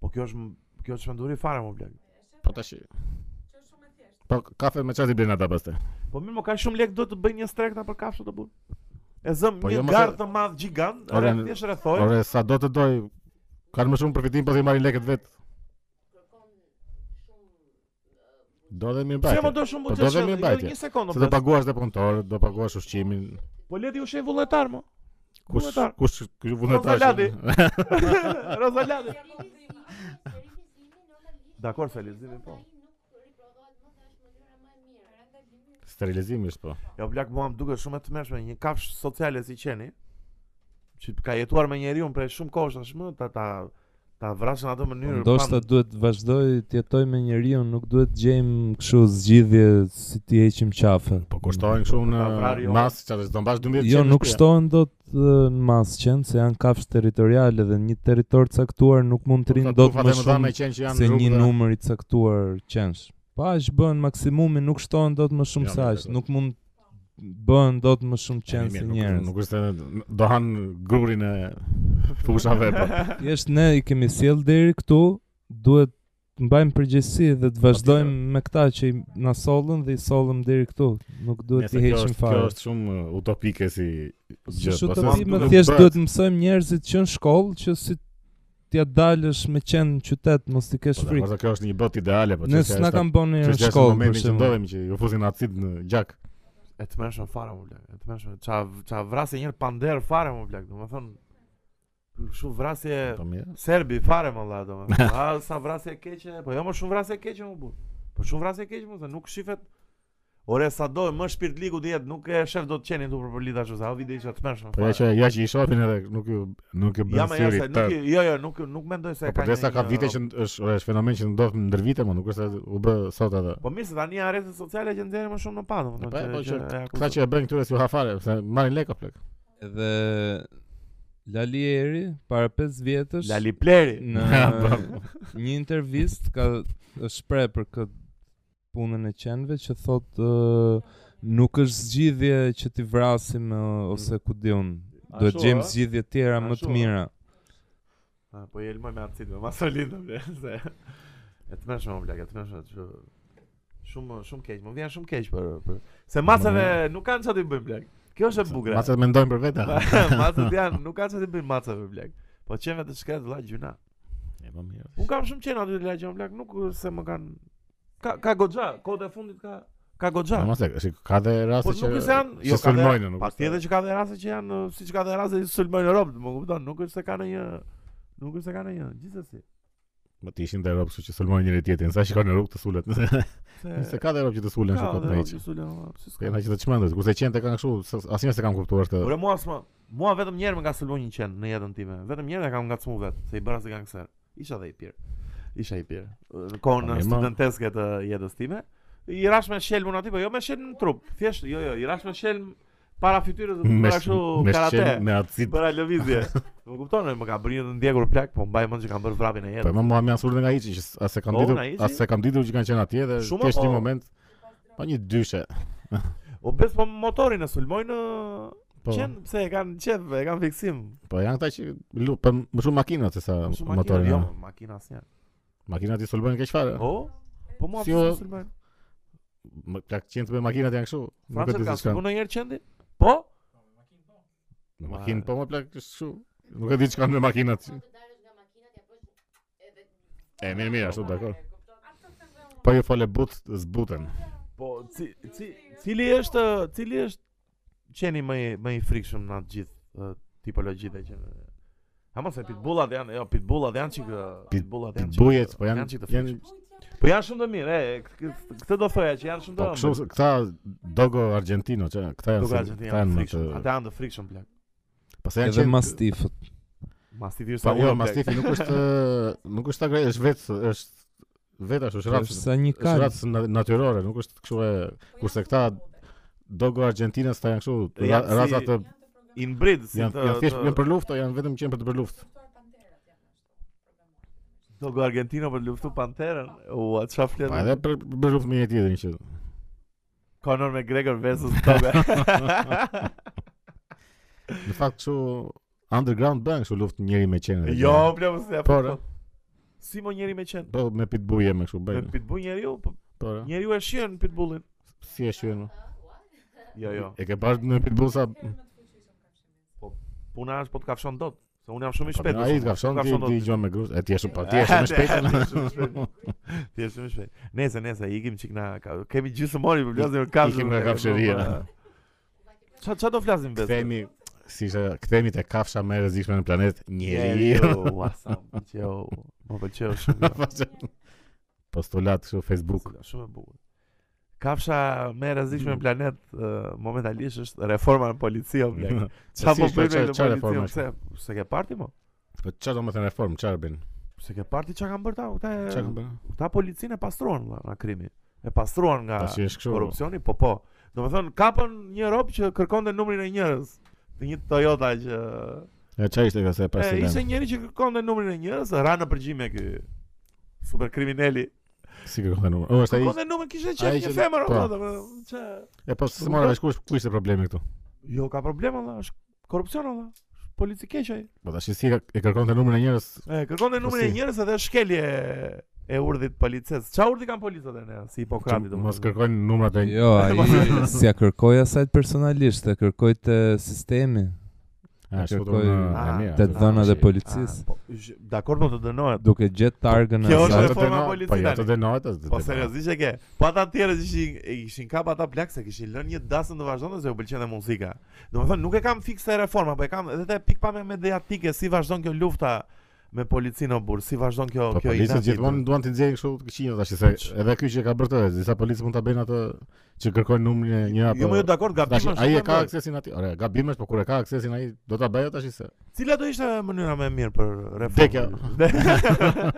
Po kjo është m- Kjo është shpenduri fare më blek.
Po tash. Po kafe me çfarë i blen ata pastaj?
Po mirë, më ka shumë lek do të bëj një strekta për kafshë të bun. E zëm
Po,
një
jo, mos e-
gardë të madh gjigant,
Ore,
edhe thjesht rrethoj.
Ore sa do të doj kanë më shumë përfitim pas i marrin lekët vet. Do dhe mirë
Pse më
bajtë.
do shumë
Po, do
buxhet?
dhe
shef,
mirë
jo,
mbajtje.
Një sekondë.
Se do
blet.
paguash dhe punëtorët, do paguash ushqimin.
Po leti u shej vullnetar më.
Kush
Vullnetar.
kush kush vullnetar.
Ronzaladi. Rozalade. Dakor, Selizimi, po.
Sterilizimi është po.
Jo blak mua më duket shumë e tmerrshme një kafsh sociale si qeni, që ka jetuar me njeriu prej shumë kohësh tashmë, ta ta ta vrasën atë mënyrë.
Po Ndoshta duhet vazhdoj të jetoj me njeriu, nuk duhet gjejmë kështu zgjidhje si ti heqim qafe.
Po kushtohen kështu në
Ta vrarë jo.
mas, çfarë do mbash 12
Jo,
qenë
nuk
shtëpia.
shtohen dot ë, në masë qenë, se janë kafshë territoriale dhe një territor caktuar nuk mund të
Po Ta
rinë dot
tufat
më
e mëdha me
shumë
qenë që janë
se
në
një
rrugë dhe-
numër i caktuar qenësh. Pa aq bën maksimumi, nuk shtohen dot më
Jo,
shumë se
nuk
aq,
është.
nuk mund bën dot më shumë qenë
Mirë,
se
nuk-
njerëz.
Nuk është do han grurin e fushave po.
Thjesht ne i kemi sjell deri këtu, duhet të mbajmë përgjegjësi dhe të vazhdojmë me këta që i na sollën dhe i sollëm deri këtu. Nuk duhet
Nëse
të
kjo
heqim
është- Kjo
fare.
është shumë uh, utopike si gjë.
Kështu
po,
të
se
bëjmë,
duhet
thjesht
bëhet.
duhet të mësojmë njerëzit që në shkollë që si t'ja dalësh me qenë në qytet, mos t'i kesh
Po, dakor,
frikë.
se kjo është një botë ideale, po
Nësë na kam bënë
që
një në shkollë, për
momentin që
shembull.
ndodhemi që ju fusin acid në gjak.
E të mërshme fare më blek, e të mërshme, qa, qa vrasje njërë pander fare më blek, do më thonë, shumë vrasje
Po mirë.
serbi fare më la, do më thonë, a sa vrasje keqe, po jo më shumë vrasje keqe më burë, po shumë vrasje keqe më, se nuk shifet, ore sa do, më shpirt ligu djetë, nuk e shef do të qeni tu për për lidha shu, sa o vide isha të mërshme
Po ja që
fare.
ja që i shohin edhe nuk ju nuk ju
Ja
bën
me ja
syri.
se
tërë.
nuk, i- jo jo, nuk, nuk mendoj se
Po
ka
përderisa ka vite që
uh,
në- është ore, është fenomen që ndodh ndër vite, mo nuk është se u bë sot atë.
Po mirë se tani janë rrjetet sociale që nxjerrin më shumë në pa,
Po
domethënë.
po që
e
këta
akuzojnë.
që e bën këtyre si u hafare, se marrin lekë o plek.
Edhe Lalieri, para 5 vjetësh,
Lali Ah, Pleri.
Mm.
në një intervistë ka shpreh për këtë punën e qenve që thotë ë, nuk është zgjidhje që ti vrasim ë, ose ku diun.
A
Duhet
shu,
gjejmë
a?
zgjidhje tjera
A
më
shu,
të
a?
mira.
Ah, po jelmoj me atë cilë, ma solinë, bre, se... E të mërshme, më blek, e të mërshme, që... Shumë, shumë keq, më vjen shumë keq për... për... Se maceve nuk kanë që t'i bëjnë, blek. Kjo është e bugre.
Mase mendojnë për vete. ha.
Macet janë, nuk kanë që t'i bëjnë maceve, blek. Po qenve të shkret, vëlla gjuna.
E, po mirë.
Unë kam shumë qenë aty të lagjon, blek, nuk se më kanë... Ka, ka goxha, kote e fundit ka... Ka goxha.
Po mos e shik, ka dhe raste
Po
që
nuk është se janë,
që
jo ka dhe,
sulmojnë, nuk. është se-
patjetër që ka dhe raste që janë, uh, siç ka dhe raste që sulmojnë robt, më kupton, nuk është se ka ndonjë, nuk është se ka ndonjë, gjithsesi.
Më të ishin dhe rob, kështu që sulmojnë njëri tjetrin. Sa shikon në rrugë të sulet. Se
Se
ka dhe rob që të sulen
Ka,
kështu kot
dhe
me
rob
hiç.
që sulën, o, si s'ka.
Po janë që të çmendet. Kurse qente kanë kështu, s- asnjë se kam kuptuar këtë.
Ore mua s'ma, mua vetëm njëherë më ka sulmuar një qen në jetën time. Vetëm njëherë e kam ngacmu vet, se i bëra se gangster. Isha dhe i pir. Isha i pir. Në kohën
Po, mirë, ma.
studenteske të jetës time, i rash me shelmun aty, po jo me shelm në trup. Thjesht, jo jo, i rash me shelm para fytyrës,
Me
para
sh-
kështu
me
karate.
shqen, me acid.
Bëra lëvizje. Më kupton, e, më ka bërë të ndjekur plak, po mbaj mend që kam bërë vrapin e
Po
jetës.
më mua më janë sulën nga hiçi, që s- as e kam
Po,
ditur,
nga hiçi.
as e kam ditur që kanë qenë atje dhe
Shumë po.
thjesht një
apo-
moment pa një dyshe.
O bes po motorin e sulmoj në
Po,
qen, pse e kanë qef, e kanë fiksim.
po janë këta që lu, po më shumë makina se sa
Shumë
Po, motorin.
makina, jo,
janë.
makina asnjë.
Makinat i sulmojnë keq fare.
O, po mua
Si
pse
o-
sulmoj?
Më plak qenë me makinat janë kështu. Nuk e
Francët
di
kanë
se çka.
shkuar ndonjëherë qendi? Po?
Në makinë No, po më plak kështu. Nuk e di çka me makinat. E mirë mirë ashtu dakor. Po ju fole but zbuten.
Po, ci, ci, cili është cili është qeni më i, më i frikshëm në atë gjithë ë, tipologjitë që Ha mos e pitbullat janë, jo pitbullat janë çik ë, pitbullat janë. çik-
Bujet po janë
çik të
janë
frikshëm. Po janë shumë të mirë, e k- k- këtë do thoja që janë shumë të
po kështu se- këta Dogo Argentino që këta janë
Do
se-
gazet
këta
janë
më
frikshëm.
të-
Ata janë të frikshëm plak.
Pastaj janë
Edhe
qenë-
mastifët.
Masti virus
Po jo, mastifi nuk është nuk është agresiv, është vetë është vetë ashtu
Është
shrafë.
sa një
Është
kalë.
racë na- natyrore, nuk është kështu e kurse këta dogo argentinës ta janë kështu
Janë si-
ra- raca të
inbreed si
janë
të
janë thjesht
të-
janë për luftë, janë vetëm qenë për të për luftë.
Dogo Argentino për luftu Panterën. U, atë çfarë flet?
Pa edhe për për luftë me një tjetrin që
Conor McGregor versus Doga.
në fakt kështu underground bën kështu luftë njëri me qenë.
Jo, ble, Jo, mos e
Por,
po. Si mo njeri me qen?
Po me pitbull jam kështu
Me
bëj.
pitbull njeriu, po
Po. ra.
njeriu e shien pitbullin.
Si e shyen?
Jo, jo.
E ke bashkë në pitbull sa
Puna është po të kafshon dot. Se unë jam shumë i
Po,
shpejtë.
Ai
shumë,
të kafshon ti
dot.
ti gjon me grus. E ti je shumë pa ti je shumë i
Ti je
shpejt.
shumë i shpejt. Ti je shumë i shpejt. Nese, nese, ikim çik na ka- kemi gjysmë orë për flasim për kafshë.
Ikim nga kafshëria.
Ça ça do flasim vetë?
Kthehemi si ishte kthehemi te kafsha më e rrezikshme në planet, njeriu.
Njeriu, ua, sa më pëlqeu. Më pëlqeu shumë. jo.
Postulat kështu Facebook.
Shumë e bukur. Kafsha më e
Mm.
rrezikshme në planet ë, momentalisht është reforma në polici o blek. Çfarë
Si
po
është,
bëjmë
çfarë-
në
çfarë
polici?
reforma
o, Pse se ke parti mo?
Po çfarë do të thënë reform, çfarë bën?
Se ke parti çka kanë bërë ta? Këta
Çfarë kanë bërë?
këta policinë e pastruan valla nga krimi. E pastruan nga
Tash është kështu.
korrupsioni, po po. Do me thënë, kapën një rob që kërkonte numrin e njërës. Të një Toyota që...
E çfarë ishte kjo se
E, ishte
president?
njëri që kërkonte numrin e njërës, ra në përgjime ky super krimineli.
Si kërkon numër. O, është ai.
Kërkonte numrin kishte
ai
qenë një
që-
femër,
po.
o, do me thënë, që...
E po se mora vesh kush ku ishte problemi këtu.
Jo, ka problem, Allah, është korrupsion, Allah. është Polici keqaj.
Po tash si e ka- e kërkon të numrin e njerëz
E, kërkonte
Po
numrin e
si?
njërës edhe shkelje e urdhit polices. Qa urdhi kanë policët e ne, si
që
Hipokrati, do me
mos
thënë.
kërkojnë numrat e
Jo, ai si ja kërkoj asaj personalisht, e kërkoj të sistemi,
A,
e
shfutur
kërkoj-
në-
Ah,
e mirë,
të
atë.
dhënat e
Ah,
policisë.
po, zh- Dakor, po të dënohet.
Duke gjetë targën e
Kjo
Jo,
është
të
asaj.
reforma
dënohet,
polici
Po jo
tani.
të dënohet. atë të
Po
dënohet.
seriozisht e ke. Po ata tjerë që ishin e kishin kap ata plak se kishin lënë një dasëm të vazhdonte se u pëlqente muzika. Domethënë nuk e kam fikse reforma, po e kam edhe te pikpamje mediatike si vazhdon kjo lufta me policinë o burr, si vazhdon kjo
Po
kjo
policët
inati.
gjithmonë duan të nxjerrin kështu të këqinj tash se
Ç-
edhe ky që ka bërë të, disa policë mund ta bëjnë atë që kërkojnë numrin e po- një apo
Jo më jo dakord gabim
Tash
është.
ai
shumë
e ka
madh.
aksesin aty. Ore, gabim është, po kur e ka aksesin ai do ta bëjë tash se.
Cila do ishte mënyra më e mirë për
Dekja.
reformë? Dekja.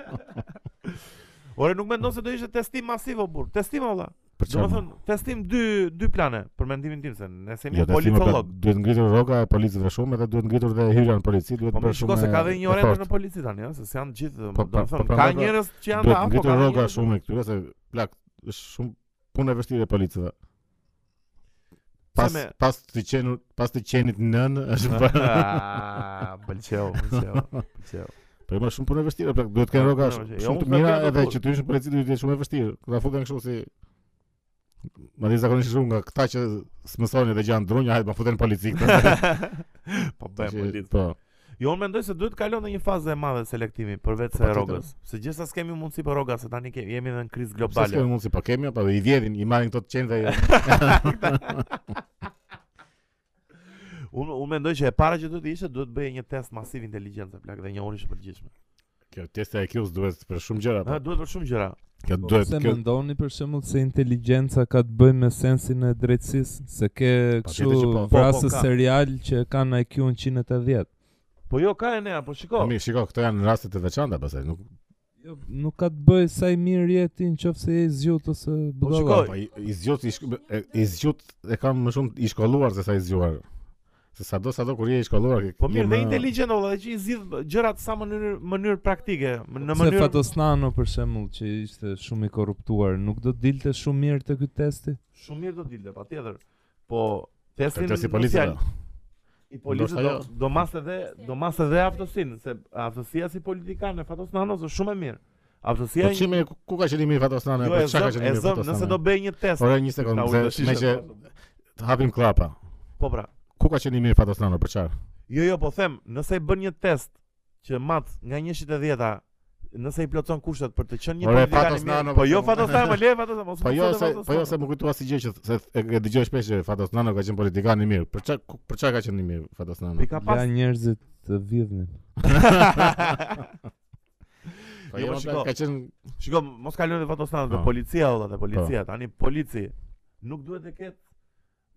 Ore nuk mendon se do ishte testim masiv o burr. Testim olla.
Për
Do
çfarë?
më thënë, testim dy, dy plane, për mendimin tim, se nëse mi
Jo, tash më
policolog.
duhet ngritur roka e policëve shumë edhe duhet ngritur dhe hyrja në polici, duhet
Po më
bërë
shiko
pra- shumë.
se ka dhe një
e
orendër
fortë.
në polici tani, ëh, se se janë gjithë, do
Po,
të
po,
thonë,
po,
ka
prandaj pra-
njerëz që janë
Duhet
da, po ka
ngritur roka
njerëz që-
shumë e këtyre se plak është shumë punë e vështirë e policëve.
Se
Pas
me-
pas të qenur, pas të qenit nën është po, bërë.
Ah, Pëlqeu, pëlqeu, pëlqeu.
Po më shumë punë e vështirë, plak duhet kanë roka
Po,
shumë
jo,
të
unë kam
mira
qenë në
edhe
punë.
që ty në polici duhet të jetë shumë e vështirë. Kur ta futen kështu si Madje zakonisht shumë nga këta që smësojnë edhe gjanë drunja, hajde ma futen në polici këta.
Po bëjmë
Që-
policë.
Po.
Jo, unë mendoj se duhet të kalon në një fazë e madhe selektimi
Po,
përveç se
patjetër.
rrogës. Se gjithsesi kemi mundësi për rroga, se tani kemi, jemi edhe në
Pse
krizë
s'ke
globale.
mundsi pa kemi apo i vjedhin, i marrin këto të qenë dhe
Unë unë mendoj që e para që duhet të ishte duhet bëjë një test masiv inteligjencë plak dhe një orë të përgjithshme.
kjo testi e IQ-s duhet për shumë gjëra.
Ha,
po.
duhet për shumë gjëra.
Kjo
Po
duhet
pse
kjo
mendoni për shembull se inteligjenca ka të bëjë me sensin e drejtësisë, se ke kështu
tjetër që po. Po,
po,
vrasë
ka.
serial që kanë IQ-n 180.
Po jo, ka e nea, po shiko.
Po mirë, shiko, këto janë rastet e veçanta pastaj, nuk
Jo, nuk ka të bëjë sa i mirë je ti nëse je i zgjut ose budalla.
shikoj.
po i- i zgjut i, shk- e- i zgjut e kam më shumë i shkolluar se sa i zgjuar. Se sado sado kur je i shkolluar ke
Po mirë,
ke
dhe
më-
inteligjent olla, dhe që i zgjidh gjërat sa mënyrë mënyrë praktike, më- në
Se
mënyrë
Fatosnano për shembull që ishte shumë i korruptuar, nuk do dilte shumë mirë te ky testi?
shumë mirë do dilte, patjetër. Po testin
Këtë si
në
policë.
fjalë, i policët
Ndoshta
do,
jo.
do mas edhe do mas edhe aftësinë, se aftësia si politikan e Fatos Nanos është shumë e mirë.
Po
Aftësia një-
çime ku ka qëllimi i Fatosnane,
jo
po
e
çka ka
zëm, e
qëllimi i
zëm, nëse do
Fatosnane.
bëj një test.
Ore një
ta
sekondë,
ullë
se
shishën.
me që të hapim klapa.
Po pra.
Ku ka qëllimi i Fatosnane për çfarë?
Jo, jo, po them, nëse i bën një test që mat nga 1.10-a, nëse i plotson kushtet për të qenë një
Ore,
politikan i
Fatos
mirë,
Nano,
po jo
po-
Fatos Nano, le Fatos Nano, mos
Po
mos
jo
edhe
se
Fatos
po jo
Nano.
se më kujtua si gjë që se e, e dëgjoj shpesh që Fatos Nano ka qenë politikan i mirë. Për çka ku- për çka ka qenë i mirë Fatos Nano?
i ka pas
Ja njerëzit të vidhnin.
Po
Jo,
jo,
po shiko.
ka qenë
Shiko, mos kalojnë dhe fotostanat dhe
Po.
policia o dhe policia, tani polici nuk duhet të ketë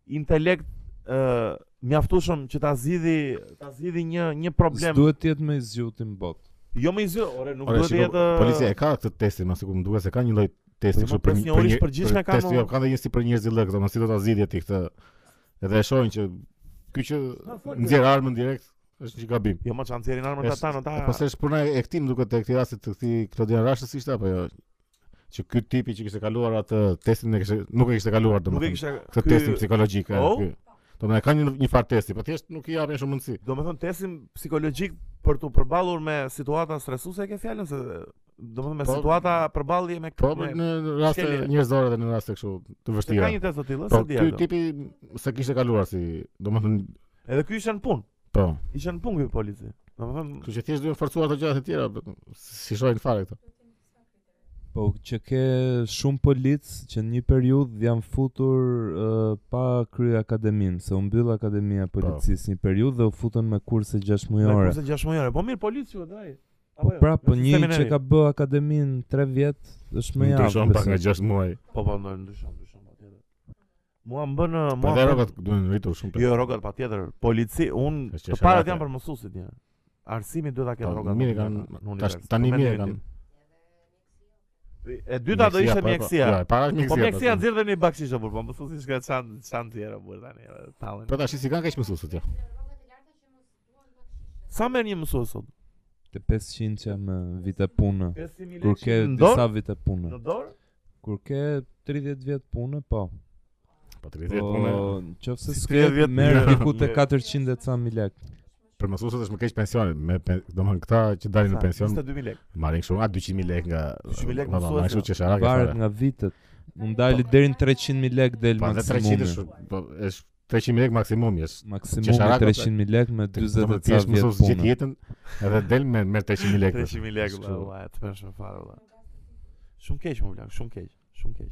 intelekt ë mjaftueshëm që ta zgjidhi ta zgjidhi një një problem.
S'duhet të jetë më i zgjuti në botë.
Jo më i zyr, ore, nuk
Ore,
duhet të
shiko,
jetë
policia e ka këtë testin, ma sikur më duket se ka një lloj testi
Po,
kështu
ma,
për
pres një orë ish përgjithshme ka,
testi,
mo.
jo, ka dhe një si për njerëz i lë këto, mos si do ta zgjidhje ti këtë. Edhe e shohin që ky që nxjerr armën direkt është një gabim.
Jo më çancerin armën
E
ta
s-
tanë ta.
e Po se është puna e këtij më duket te këtij rasti të këtij Klodian Rashës ishte apo jo? Që ky tipi që kishte kaluar atë testin e kishte nuk e kishte kaluar
nuk e
domethënë.
kishte
Këtë
ky-
testin psikologjik. e,
Po?
ky. Domethënë ka një një farë testi, po thjesht nuk i japin shumë mundësi.
Do me thënë testin psikologjik për të përballur me situata stresuese e ke fjalën se domethënë me
Po.
situata përballje me
Po
me-
për në raste
shkelje.
njerëzore dhe në raste kështu të
se ka
vështira.
një tezë të tillë,
Po
se di.
ky
ato.
tipi se kishte kaluar si, domethënë,
Edhe ky ishte në punë.
po.
Ishte në punë ky polici. Domethënë
Kështu që thjesht duhen forcuar ato gjërat e tjera, po, si shohin fare këto.
Po që ke shumë polic që në një periudhë janë futur uh, pa kry akademin, se u mbyll akademia
Po.
e policisë një periudhë dhe u futën me kurse 6
me
mujore.
kurse 6 mujore. Po mirë polici u drejt. jo,
Po
jo,
pra, po një që ka bë akademin 3 vjet është më jashtë.
Ndryshon pak nga
besoj.
6 muaj.
Po po ndër ndryshon, ndryshon patjetër. Mua më bën
Po
mua.
dhe
më bën-
rrobat duhen rritur shumë.
Jo rrogat patjetër. Polici, un
Është që
të parat
sharate.
janë për mësuesit një. Arsimi duhet ta ketë
Po,
rrogat.
mirë
në-
kanë,
në univers,
tash tani
në
mirë
mendimin
kanë.
tim. E dyta do ishte mjekësia.
po, Ja, jo, para
Po
mjekësia.
mjekësia nxirr dhe një bakshishë burr, po mësuesi shkret çan çan tjera burr tani. e, tallin.
Po tash si kanë kaq mësuesët ja.
Sa merr një mësues sot?
Te 500 që me vite punë.
5000
Kur ke
në
disa
dorë?
vite
Në
punë.
dorë?
Kur ke 30 vjet punë, po.
Po 30 punë.
Po, nëse
Si
s'ke
30
merr
mirë.
diku te 400 dhe ca mijë lek.
Për mësuesët është më keq pensioni, me pen- domthon këta që dalin në
Sa?
pension
22000 lekë.
marrin kështu "Ah, nga 200000 lekë nga
200.000 lekë
nga- nga
mësuesja.
Kështu që sharake
Varet
fare.
nga vitet. Unë dali deri në 300.000 lek del
Po dhe 300
maksimumi.
është po është 300.000 lekë maksimumi është.
Maksimumi
Qesharak,
300.000 lek me 40
Domethënë,
e
ti
ca
je
vjet
mësues gjithë
punë.
jetën edhe del me me 300.000 lekë.
300000 lekë,
Kështu.
valla, e të përshëm fare valla. Shumë keq më vlak, shumë keq, shumë keq.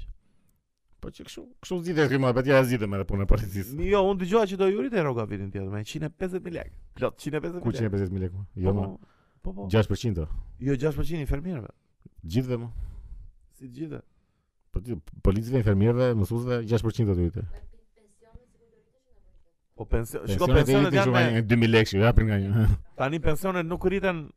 Po që kështu, kështu zgjidhet ky mohabet, ja zgjidhem edhe punën e policisë.
Jo, unë dëgjova që do jurit e rroga vitin tjetër me 150000 lekë. Plot 150000 lekë.
Ku 150.000 lekë? mo? Jo, mo.
Po po.
6%. o.
Jo 6% i fermierëve,
Gjithve më.
si të gjithë.
Po ti policëve, infermierëve, mësuesve 6% do të hyjë.
Po pension, shiko
Shiko
pensionet janë me
janë 2000 lekë, që japin nga një.
Tani pensionet nuk rriten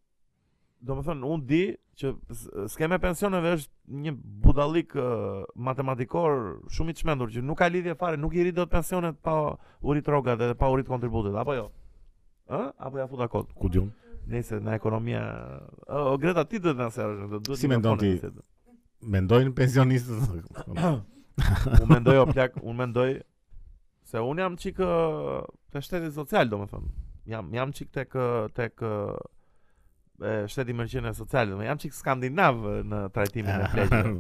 Do më thënë, unë di që s- skeme e pensioneve është një budalik uh, matematikor shumë i të shmendur Që nuk ka lidhje fare, nuk i rritë do të pensionet pa u rritë rogat dhe pa u rritë kontributet, apo jo? Ë? Apo ja futa kod?
Ku diun?
Nëse në ekonomia... O, Greta, ti duhet të nëserësh, do duhet
Si
një
mendon
mikrofonin
ti?
të sjetë.
Mendojnë pensionistët.
Unë mendoj, o plak, unë mendoj... Se unë jam qik ë, të shteti social, do më thënë Jam, jam qik tek, ë, tek ë, e, shteti mërqenë e social, do më jam qik skandinav ë, në trajtimin e pleqëve.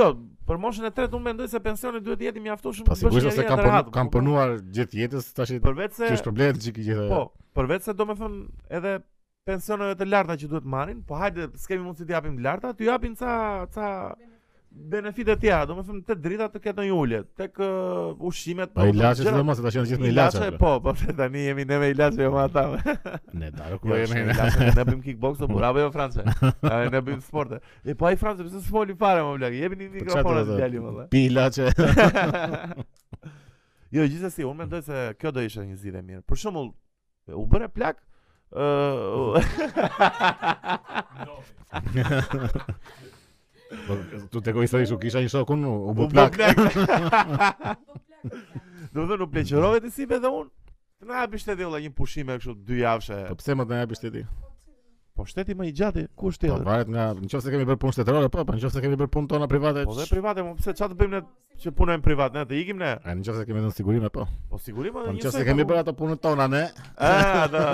Jo, për moshën e tretë unë mendoj se pensioni duhet të jetë i mjaftueshëm.
Po
të bësh
sigurisht
një
ose
jetë
kanë
të
punu,
rahatëm,
kanë
po,
punuar gjithë jetës tash i-
Përveç
që është
se
problemi që i gjithë.
po, përveç se domethën edhe pensioneve të larta që duhet marrin, po hajde s'kemi mundësi të japim të larta, të japin ca ca benefite të tjera, domethën te drita të ketë një ulje, tek ë, ushqimet, po,
Pa ilaçe
gjërat-
sidomos se tash janë gjithë me ilaçe.
ilaçe, po, po tani jemi ne me ilaçe jo me ata.
Ne daro ku
Jo,
Po, jemi.
shë, ilaçe, ne bëjmë kickbox apo bravo jo Francë. A, Ne bëjmë sporte. E po ai Francë pse s'foli fare më blaq. Jepini
Po, çfarë
mikrofonat
do të-
djalim valla.
Pi ilaçe.
jo, gjithsesi, unë mendoj se kjo do ishte një zgjidhje e mirë. Për shembull, u bëre plak uh, ë
Po tu te kujtoj se kisha një shokun u
u
bë
bë
plak.
Do të thonë u pleqërove ti si edhe unë. Të na hapi shteti valla një pushime kështu dy javshë.
Po pse më të na japi shteti?
Po shteti më i gjati, ku është
Po
tjetër?
varet nga nëse kemi bërë punë shtetërore, po, po nëse kemi bërë punë tona private.
Po dhe private, mo pse çfarë të bëjmë ne që punojmë privat, ne të ikim ne.
A nëse kemi dhënë sigurime, po.
Po sigurisht
Po
edhe
nëse kemi bërë ato punën tona ne.
Ah, da.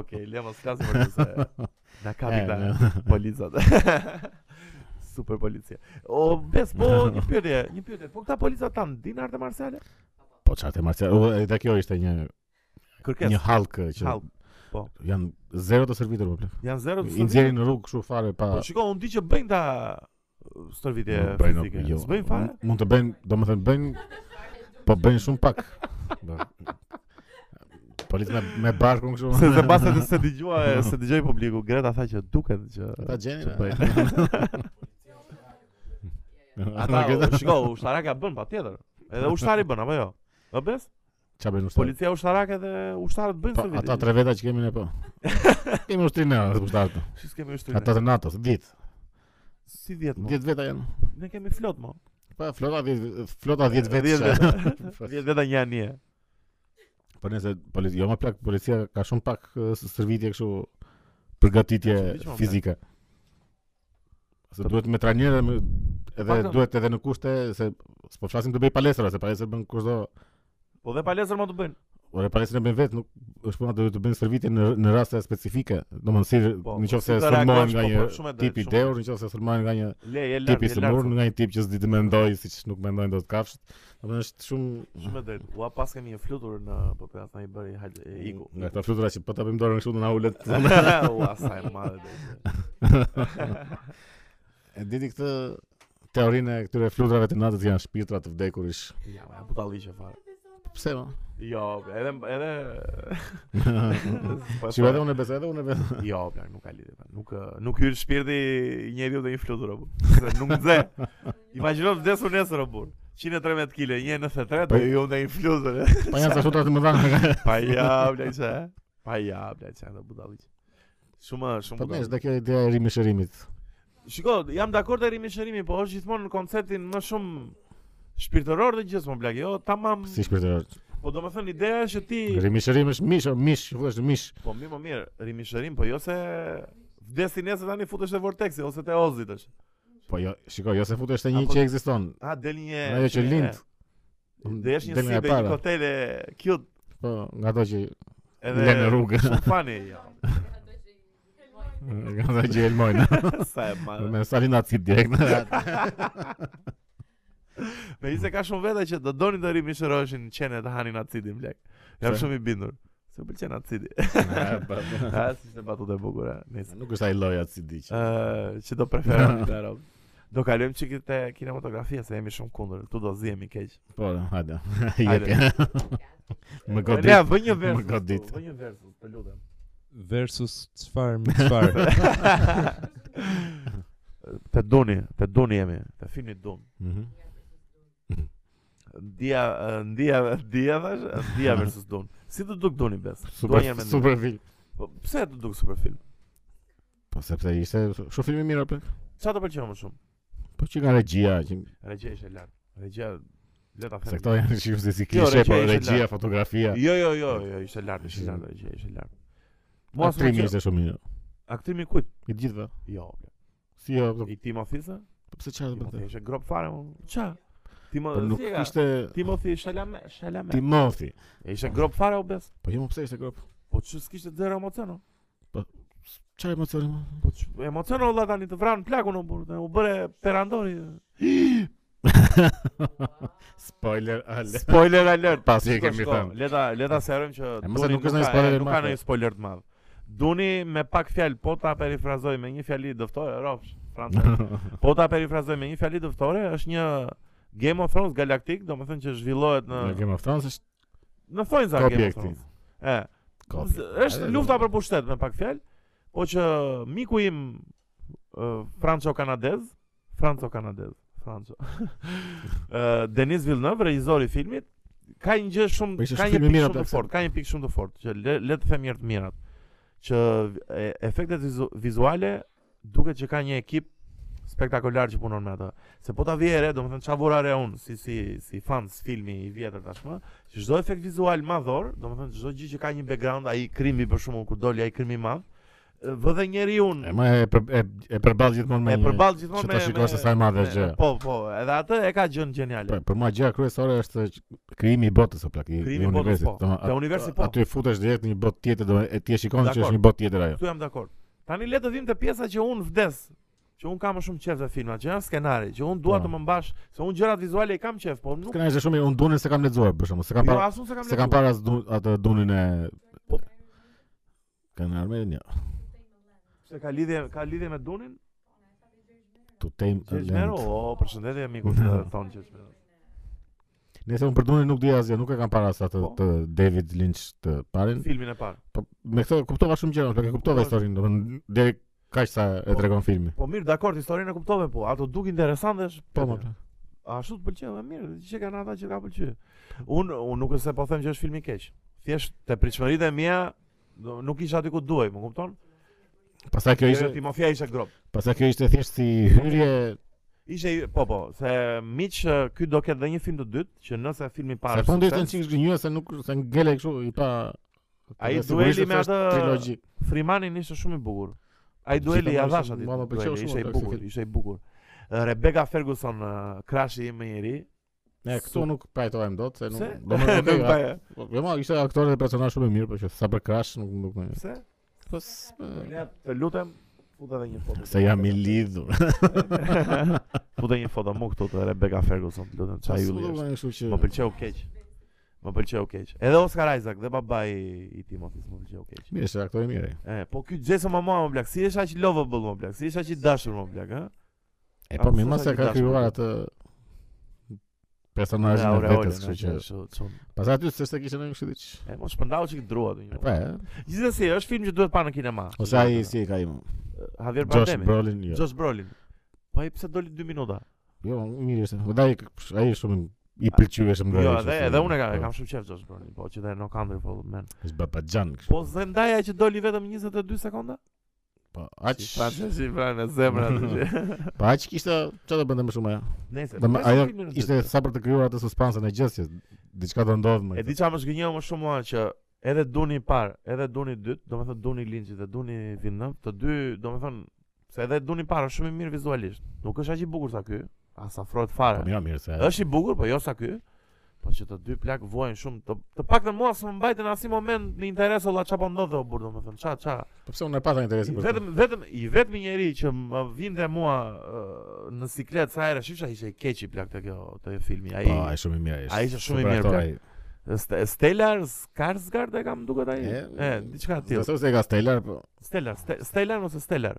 Okej, le mos flasim për këtë. se Na ka
E,
bigla
ne.
policat. Super policia. O, bes, po, një pyetje, një pyetje. Po këta policat tan din arte marciale?
Po çfarë të marrë? Edhe kjo ishte një
Kërkes.
një halk që
Hall.
janë zero të servitur po plak.
Janë zero të
I nxjerrin në rrugë kështu fare pa
Po shiko, unë di që bëjnë ta uh, stërvitje
Ah. Nuk bëjnë,
fizike.
jo.
S'bëjnë fare?
Mund të bëjnë, domethënë bëjnë, po bëjnë shumë pak. Do-
Po
Politë me, me barkun kështu.
Se se baset se dëgjua, se dëgjoi publiku, Greta tha që duket që
Ta gjeni.
që
na.
bëjnë.
Na
Ata,
këtë-
u- shiko, ushtaraka bën patjetër. Edhe ushtari bën apo jo? Ë bes?
Çfarë bëjnë ushtarë?
Policia ushtarake dhe ushtarët bëjnë
Po,
stërvitje.
ata tre veta që kemi ne po. Kemi ushtrinë ata ushtarët. po.
Si s'kemi ushtrinë?
Ata të NATO-s, 10.
Si 10 mo?
10 veta janë.
Ne kemi flot mo.
Po, flota 10, flota 10 vetë.
10
isha.
veta. 10 veta një anje.
Po nëse policia, jo më plak, policia ka shumë pak eh, s- stërvitje kështu përgatitje
Ka shumë diqë, ma, plak.
fizike. Se duhet me trajnerë me- edhe
Paktën.
duhet edhe në kushte se s'po flasim të bëj palestra, se palestra bën kushdo
Po dhe palesër mo të bëjnë.
Ore paresën e bën vetë, nuk është puna do të bëjnë shërbime në në raste specifike. Domethënë si
Po, po, si
nëse
të
sulmohen
reagosh,
nga
po, po, shumë e
një
drejtë,
tip i
shumë e
dehur, nëse sulmohen nga një
Le, e lart,
tip i
e lart.
sëmurë, nga një tip që s'di të mendoj, siç nuk mendojnë dot kafshët. Domethënë është shumë
Shumë e drejtë. Ua pas kemi një flutur në podcast na i bëri hajde e iku.
Nga këta flutura që po ta bëjmë dorën kështu do na ulet.
Ua sa e madhe drejtë.
E diti këtë teorinë e këtyre fluturave të natës janë shpirtra të vdekurish.
Ja, ma butalliqe fare.
Pse ma?
Jo, edhe edhe po e
Shqipë
thoj.
edhe unë e besoj, edhe unë e besoj.
Jo, bla, nuk ka lidhje. bla. Nuk ë, nuk hyn shpirti i njeriu te një flutur apo. Se Nuk nxe. Imagjino vdesur nesër apo. 113 kg, 193 do
Po-
ju ndaj një flutur.
Po janë sa flutura të mëdha.
Pa ja, bla, çe. Pa ja, bla, çe, do butalliqe. Shumë shumë
Po
budalliqe.
mirë, dhe kjo ideja e rimishërimit.
Shiko, jam dakord te rimi shërimi, po është gjithmonë në konceptin më shumë shpirtëror dhe gjithmonë blaq. Jo, tamam.
Si shpirtëror.
Po domethënë ideja është që ti,
Rimishërim është mish, o, mish, është mish.
po mirë, po mirë, rimi shërim, po jo se vdesi nesër tani futesh te vorteksi ose te ozit tash.
Po jo, shiko, jo se futesh te një
Apo-
që ekziston.
A del një
Ajo që lind.
Dhe është një
Del nga e
si dhe një
para.
hotel e cute
Po, nga ato që
edhe
Nga në rrugë.
Shumë fani jo.
nga ato që elmojnë.
Sa e madhe.
Me salina cip direkt.
Me se ka shumë veta që do donin të rimi shëroheshin në qene të hanin acidin blek. Jam
Pse?
shumë i bindur. Se u pëlqen acidi.
Nuk
A, si se batut e bukur, a, nice.
është ai lloj atë si di që.
Ë, që do preferojmë këtë rob. Do kalojmë çik te kinematografia se jemi shumë kundër. Tu do zihemi keq.
Po, hajde.
Hajde.
Jepi. Më
Ne
godit.
bëj një versus.
Më godit.
tu, Bëj një versus, të lutem.
Versus çfarë me çfarë.
te duni, te duni jemi, te filmi dun.
Mhm.
Dia, ë, dia, dia thash, ë, dia versus dun. Si të duk duni bes?
Super
Dua një herë mendim.
super film.
Po, pse të duk super film?
Po sepse ishte shumë film i mirë apo?
Çfarë të pëlqeu më shumë?
Po që nga regjia, që
Regjia ishte lart. Regjia le ta
se
them.
këto janë shifë se si
Jo,
klishe, po
regjia ishte
regjia,
lart.
fotografia.
Jo, jo, jo, jo, ishte lart, ishte lart, regjia ishte lart. Mua s'më
Aktrimi
pëlqeu-
ishte shumë mirë.
Aktrimi kujt?
I gjithëve.
Jo, bla.
Si jo,
I Timothy-së?
po pse çfarë do të
Timothy
bëj?
ishte grop fare më. Qa? Timo,
Po nuk
si e ka?
ishte
Timothy Shalame, Shalame.
Timothy.
Ishte grop fare u bes.
Po jo, më pse ishte grop?
Po çu s'kishte zero emocione.
Çfarë emocioni më?
Po çu emocione valla tani të vran plakun u burr, u bëre perandori.
Spoiler alert.
Spoiler alert.
Pasi e
Shiko,
kemi
shiko,
thënë.
Le ta le ta serojmë që
E, mos e
Duni
nuk është ndonjë
ka-
spoiler i
nuk ka
madh,
ndonjë spoiler të madh. Duni me pak fjalë po ta perifrazoj me një fjali dëftore, rrofsh, francez. Po ta perifrazoj me një fjali dëftore, është një Game of Thrones galaktik, domethënë që zhvillohet
Në
në
Game of Thrones është
në thonjza Game
kopje e
of
këtij.
Thrones. E,
Kopje.
Z- është lufta për pushtet me pak fjalë, po që miku im uh, franco-kanadez, franco-kanadez, franco. uh, Denis Villeneuve, regjizori i filmit, ka një gjë
Po
shumë
ishte
ka
shumë
një
film i
pikë
mirë,
shumë të
plakse.
fortë, ka një pikë shumë të fortë që le, le të them mirë të mirat. Që e, efektet vizu- vizuale duket që ka një ekip spektakolar që punon me ata. Se po ta vije re, domethënë çfarë vura re unë si si si fans filmi i vjetër tashmë, që çdo efekt vizual madhor, domethënë çdo gjë që ka një background, ai krimi për shkakun kur doli ai krimi i madh, e, vë dhe
E
njeriu unë
më e për- e e përball gjithmonë me.
e
një-
përball gjithmonë
që
me
ta shikosh se sa e madhe është
me-
gjëja.
Po, po, edhe atë e ka gjën
Po,
geniale.
për mua gjëja kryesore është që krijimi i botës apo plak i
Krijimi
i
i botës,
universit.
po.
Domethënë,
Te
a-
universi, po.
Aty futesh direkt në një botë tjetër, do e ti e shikon që
Dakor.
është një botë tjetër ajo.
Këtu jam dakord. Tani le të vim te pjesa që unë vdes, që unë kam më shumë qejf te filmat, që janë skenari, që unë dua
Po.
të më mbash, se unë gjërat vizuale i kam qejf, po nuk
Këna ishte shumë, i- unë dunin se kam lexuar për shkakun, se kam
Jo,
parë,
asun se kam
se kam
lexuar.
parë as dun- atë dunin e
Po.
kanë armën ja.
Se ka lidhje ka lidhje me Dunin?
Tu tem.
Çeshmero, o, përshëndetje miku të thon Çeshmero.
Nëse unë për dunin nuk di asgjë, nuk e kam parë as
Po.
atë të David Lynch të parin.
Filmin e parë.
Po me këto kuptova shumë gjëra, plak e kuptova
Po.
historinë, domethënë deri kaq sa e
Po.
tregon filmi.
Po mirë, dakord, historinë e kuptove po, ato duk interesante është.
Po, më plak.
Ashtu të pëlqen, më mirë, që kanë ata që ka pëlqyer. Unë unë nuk është se po them që është film i keq. Thjesht te pritshmëritë e mia do- nuk isha aty ku duhej, më kupton?
Pastaj kjo
Ishte
ishte,
Timofia ishte grop.
pastaj kjo ishte thjesht si hyrje
Ishte po po, se miq ë, ky do ketë dhe një film të dytë që nëse filmi i parë.
Se
është
fundi ishte në
sukses,
çik zgjënjua se nuk se ngele kështu i pa
Ai
Dhe sigurisht
dueli me
se është
atë-
trilogji.
Frimanin ishte shumë i bukur. Ai
Gjithë
dueli ja
ato
dhash
ishte-
aty.
mua më pëlqeu
dueli,
shumë
Ishte i
ato si
bukur,
film.
ishte i bukur. Rebecca Ferguson, ë, krashi im i ri,
Ne këtu nuk pajtojmë dot se nuk
Pse?
do më
Nuk
okay.
pa-
Po më ishte aktorë dhe personazh shumë i mirë, por që sa për Crash nuk nuk më.
Pse?
Po s-
Ne të lutem, futa edhe një foto.
se jam i lidhur.
Po, Futa një foto mu këtu të Rebecca Ferguson, të lutem, çaj
Po,
ylli
s'u
është.
bëni kështu që
Më pëlqeu keq. Më pëlqeu keq. Edhe Oscar Isaac dhe babai i Timothys më pëlqeu keq.
Mirë, është aktor i mirë. ai.
E, po ky Jason Momoa më blaq, si është aq lovable më blaq, si është aq i dashur më blaq, ë?
E
A,
po
po,
mirë,
s'është
se
i
ka
dashur,
krijuar
po.
atë
Dhe
personazhin e
aureolën,
vetës, kështu që.
ashtu, ashtu, çon.
Pastaj aty s'është se kishte ndonjë kështu diç.
E mos shpërndau çik drua aty.
Po,
një.
e,
Gjithsesi, është film që duhet pa në kinema.
ose ai si e ka imu.
Javier
Josh
Bardem.
Brolin, jo.
Josh Brolin. Po ai pse doli 2 minuta?
Jo, mirë është. Po ai ai është shumë i pëlqyeshëm nga.
Jo, edhe edhe unë e kam, e kam shumë qejf Josh Brolin, po që dhe no country for old men.
Është babaxhan kështu.
Po Zendaya që doli vetëm 22 sekonda?
Po, aq.
Si francezi pra në zemra aty. që-
Po aq kishte çfarë do bënte më shumë ajo.
Nëse.
Dhe më-
nëse
ajo
filmin është
ishte
drejtë.
sa për të krijuar atë suspensën e gjës që diçka do ndodhë më.
E di çfarë më zgënjeu më shumë mua që edhe duni i parë, edhe duni i dytë, domethënë duni i Lynchit dhe duni i Villeneuve, të dy domethënë se edhe duni i parë është shumë i mirë vizualisht. Nuk është aq i bukur sa ky, as afrohet
Po
fare.
mira mirë se.
Është i bukur, po jo sa ky. Po që të dy plak vuajnë shumë, të, të paktën mua s'më mbajtë në asnjë moment në interes olla çfarë po ndodh dhe u burr domethënë. Ça ça.
Po pse unë e pata interesin për. Vetëm
Vetëm vetëm i vetmi njeri që më vinte mua ë, në siklet sa herë shifsha ishte i keq i plak te kjo te filmi. Ai
Po, ai shumë i mirë ai.
Ai ishte shumë i
super
mirë, pra,
aktor,
plak.
ai.
St- Stellar Skarsgård e kam duket ai.
E,
E, diçka e tillë.
Besoj se e ka Stellar, po.
Stellar, Ste- Stellar ose Stellar.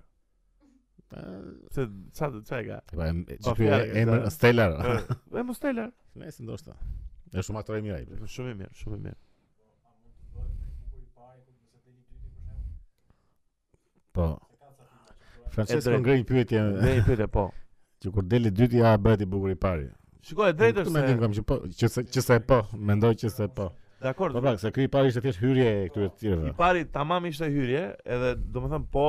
Po,
Se ça ça e ka.
e-
Po,
që ky
fjalë,
emër
e-
Stellar.
Ë, E mos Stellar.
Nëse ndoshta. Është shumë aktor i mirë ai. plak.
Shumë i mirë, shumë i mirë.
Po. Francesco
E drejtë.
ngrej një pyetje
Ne i pyete po.
që kur deli dyti a bëhet i bukur i pari.
Shikoj, e drejtë
Këtë
është
mendim
se
kam që po, që se, që se po, mendoj që se po.
dakor.
Po pra, se ky i pari ishte thjesht hyrje e këtyre të tjerëve.
I pari tamam ishte hyrje, edhe domethënë po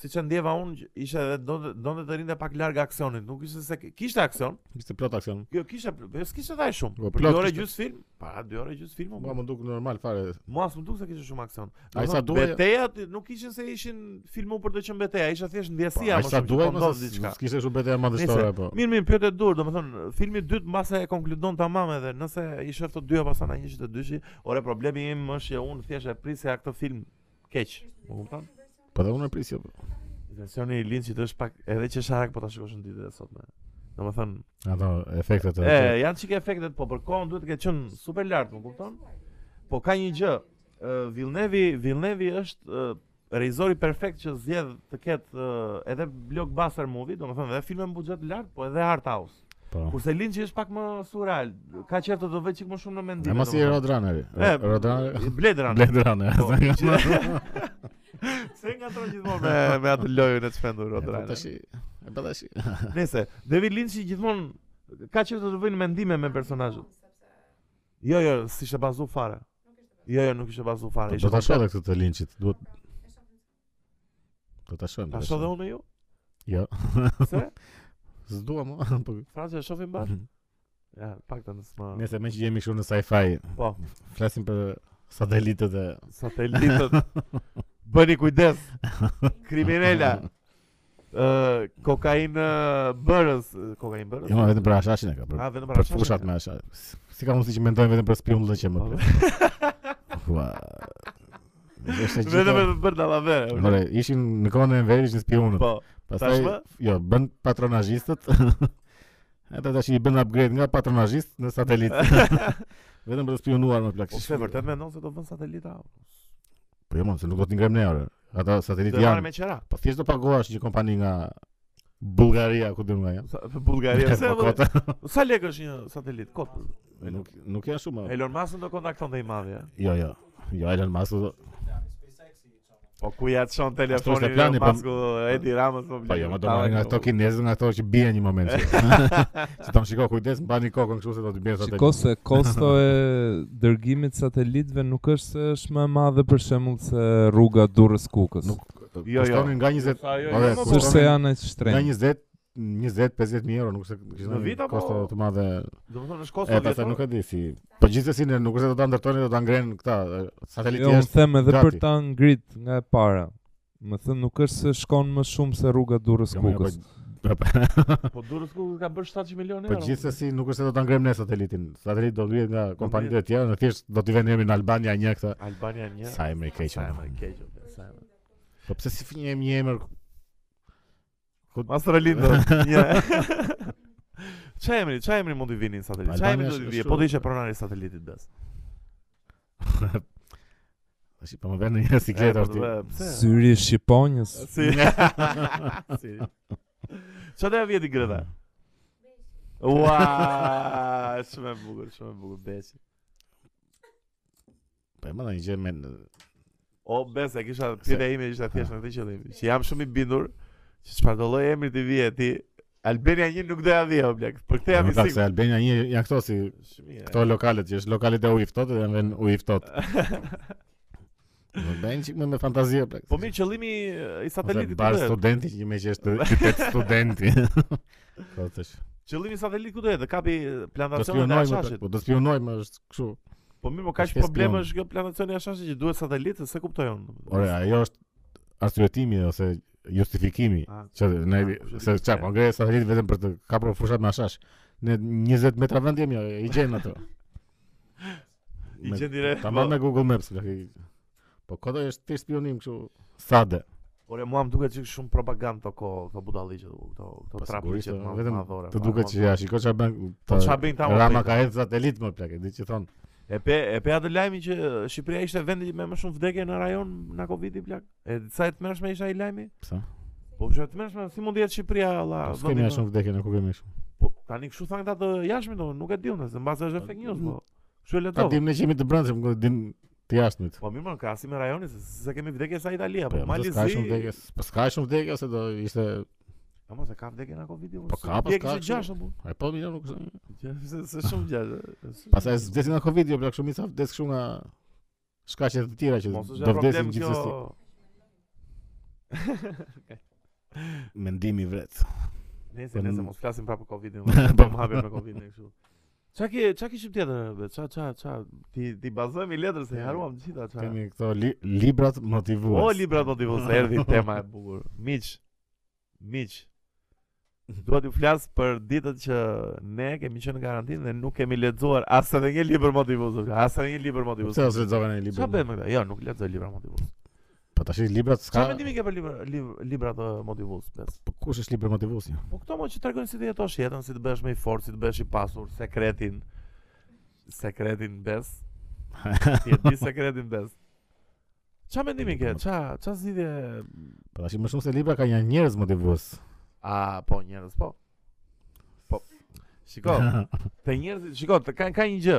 siç e ndjeva unë ishte edhe donte donte të rinte pak larg aksionit, nuk ishte se kishte aksion.
Ishte plot aksion.
Jo, kishte, jo s'kishte dhaj
Po,
shumë. Për
plot
2 orë
kishte.
gjys film, para 2 orë gjys film.
Mua Po, më duk normal fare.
Mua s'm duk se kishte shumë aksion.
Ai sa
Domethënë,
duaj-
Betejat nuk ishin se ishin filmu për të qenë beteja, ishte thjesht
Po,
ndjesia
ai sa
që
duaj
po
më
ndodh
se
diçka.
s'kishte shumë bete
Nice.
madhështore po.
Mirë, mirë, pyet e dur, domethënë filmi i dytë mbase e konkludon tamam edhe nëse i shoh të dyja pastaj na një të dyshi, ore problemi im është që unë thjesht e prisja këtë film keq. Më kupton?
Po dhe unë e prisja po.
Versioni i Lynchit është pak edhe që sharak po ta shikosh në ditët e sotme. Domethënë,
Ato efektet e.
e janë çike efektet, po për kohën duhet të ketë qenë super lart, më kupton? Po ka një gjë, ë, Villeneuve, Villeneuve është ë, regjisori perfekt që zgjedh të ketë ë, edhe blockbuster movie, domethënë edhe filme me buxhet lart, po edhe art house.
Po.
Kurse Lynchi është pak më surreal, ka qeftë të do vë çik më shumë në mendim.
E mos i
domethënë.
Road Runner.
E,
Road Runner.
Blade Runner.
Blade Runner.
Po, Se nga të gjithmonë me, me atë lojën e të shpendur
Po
Road
tash.
Runner.
E po tash.
Nese, David Lynchi gjithmonë ka qeftë të vëjnë mendime me personazhet. Jo, jo, si shë bazu fare. Jo, jo, nuk ishte bazu fare.
Do ta shoh edhe këtë të Lynchit. Duhet Do ta shoh.
Ta shoh dhe unë ju?
Jo.
Se?
S'dua më, po.
Fransë e shofim bashkë? Ja, pak të nësma.
Nëse më që jemi kështu në sci-fi,
Po,
flasim për satelitët e
satelitët. Bëni kujdes. Kriminela. Ë, kokainë bërës, ë, kokainë bërës.
Jo, ma vetëm për ashashin e ka, për,
Ah, vetëm
për
para
fushat me ashash. Si ka mundësi që mendojnë vetëm për spionullën që më
Po,
bërë. Ua. Është gjithë.
Vetëm për bërë dallave.
Ore, ishin në kohën e Enverit ishin spionët.
Po,
Pastaj
tashmë?
jo, bën patronazhistët. Ata tash i bën upgrade nga patronazhist në satelit. Vetëm për të spionuar më plak.
po se vërtet mendon se do vën satelita.
Po jo, mos, se nuk do të ngrem ne ore. Ata
Do
satelit
e marrë
janë.
me qera.
Po thjesht do pagohesh një kompani nga Bullgaria ku do nga janë.
Sa- Për Bullgaria. Se,
Po, kota.
sa lek është një satelit? Kot.
Nuk nuk janë shumë. a.
Elon Musk do kontakton dhe i madhi. ja.
Jo, jo. Jo, Elon Musk. do-
Po ku ja çon
Ashtu
telefonin
është plani,
Elon
po-
Musku Edi Ramës po
Po jo, më do marrin nga ato kinezët, nga ato që bien një moment. Se ton shiko kujdes, mbani kokën kështu se do të bien
Shiko
satelit.
se kosto e dërgimit satelitëve nuk është se është më e madhe për shembull se rruga Durrës Kukës.
Nuk- po,
Jo, jo.
Kushtonin nga 20
Sa, jo, jo,
Ore,
më
kushtonin-
po.
Kurse janë e
Nga
shtrenjtë.
20 20 50000 euro, nuk se kishte
Në
ndonjë
vit apo- Po,
kosto të madhe.
Domethënë është
E
Kosovo.
pastaj nuk e di si. Po gjithsesi ne nuk është se do ta ndërtonin, do ta ngrenë këta e,
Jo,
sateliti
unë
është.
them edhe për
gati.
ta ngrit nga e para. Më thënë nuk është se shkon më shumë se rruga Durrës
Jo, mirë,
Kukës.
po,
Po Durrës ku ka bërë 700 milionë
Po
euro.
gjithsesi nuk është se do ta ngrem ne satelitin. Sateliti do ngrihet nga kompanitë e tjera, në thjesht do t'i vënë emrin Albania një këta.
Albania një.
Sa emri i keq.
Sa
ama.
më keq. o, Sa më.
Po pse si fënijë një emër?
Mas Relindo. Një. Çfarë emri? Çfarë emri mund i vinin satelit? Çfarë emri
Albania
do të
është
vijë?
kështu-
Po të ishte pronari i satelitit bes.
Tash po më vjen në një siklet
E, po,
ashtu.
dhe, pse?
Syri i shqiponjës.
Si. si. Çfarë do vjen ti greta? Ua, shumë e bukur, shumë e bukur beçi.
Po më ndonjë gjë me
O bes, e kisha pyetja ime ishte thjesht në këtë qëllim. Që jam shumë i bindur që çfarë do lloj emri të vije ti Albania një nuk do ja vije o blek. Për këtë jam i
Më pak se
sigurt.
Albania një janë këto si
Shumë mirë.
këto lokalet që është lokalet e ujit ftohtë dhe janë vënë ujit ftohtë. Më bën çik me me fantazi apo.
Po mirë qëllimi e, i satelitit
bar
ku do jetë?
studenti që më që është qytet studenti. Po tash.
Qëllimi i satelitit ku do jetë? Të Kapi
Do
plantacionin e
spionojmë,
ashashit.
po do spionojmë është kështu.
Po mirë, po
Po
kaq
s'ke
problem
spion.
është kjo plantacioni i ashashit që duhet satelit, se kuptoj unë.
Ore, ajo është arsyetimi ose justifikimi.
A,
Që ne
Ah, po,
se
që-
çfarë, po ngre satelit vetëm për të kapur fushat me ashash. Ne 20 metra vend jemi, i gjen ato.
I gjen direkt,
Tamam
po.
me Google Maps. да, па Laki. Po kodo është ti spionim kështu sade.
Ore, mua më duket që shumë propagandë të ko, këto budalliqe, këto këto
Po,
trapiqe
sigurisht,
të
po,
ma-
vetëm
madhore.
Të
ma-
duket që
ma-
ja, shiko çfarë bën.
Po
ta-
çfarë bëjnë ta
Rama ka hedh satelit më plak, e di që thon.
E pe e pe atë lajmin që e, Shqipëria ishte vendi me më shumë vdekje në rajon nga Covidi plak. E sa e tmerrshme ishte ai lajmi?
Pse?
Po pse e tmerrshme si mund të jetë Shqipëria valla?
Po
vendi
S'kemi
më-
ashtu vdekje në ku kemi ashtu.
Po tani kshu than këta të jashtëm do, nuk e di unë, se mbas është fake news, po. Kshu e
Ta
lëtova.
dim ne që jemi të brendshëm, nuk dim të jashtëmit.
Po mirë, më ka si me rajonin se se kemi vdekje sa Italia,
Po
po
mali zi. Ka shumë
Malizi.
vdekje, po s'ka shumë vdekje ose do ishte,
Po mos e ka vdekje nga Covidi.
Po ka, po s'ka, kështu.
6 apo.
ai po mirë nuk është.
Se se shumë gjashtë. e.
Pastaj vdesin nga Covid, jo plak shumica vdes kështu nga shkaqe të tjera që
Mos është
do
e problem
vdesin
kjo.
gjithsesi. Mendimi vret.
Nëse
Po,
nëse
n-
mos flasim prapë për Covidin,
Po.
po më hapem me Covidin kështu. Çka ke çka kishim tjetër be? Ça ça ça ti ti bazojmë i letrës se i haruam të gjitha ça.
Kemi këto li librat motivues.
Pra. O libra do t'i vë se erdhi tema e bukur. Miq. Miq. Dua t'ju flas për ditët që ne kemi qenë në karantinë dhe nuk kemi lexuar as edhe një libër motivues, as edhe një libër motivues.
Pse ose lexova në
Çfarë
libra?
bën me këtë? Jo, nuk lexoj libra motivues.
Po tash librat s'ka.
Çfarë mendimi ke për libra libra, libra të motivues? Bes?
Po kush është libra motivues? jo?
Po këto më që tregojnë si të jetosh jetën, si të bësh më i fortë, si të bësh i pasur, sekretin. Sekretin bes. Ti e di sekretin bes. Ç'a mendimi ke? Ç'a ç'a zgjidhje?
Po tash më shumë se libra ka një njerëz motivues.
A, po njerëz, po. Po. Shiko, te njerëzit, shiko, te ka ka një gjë.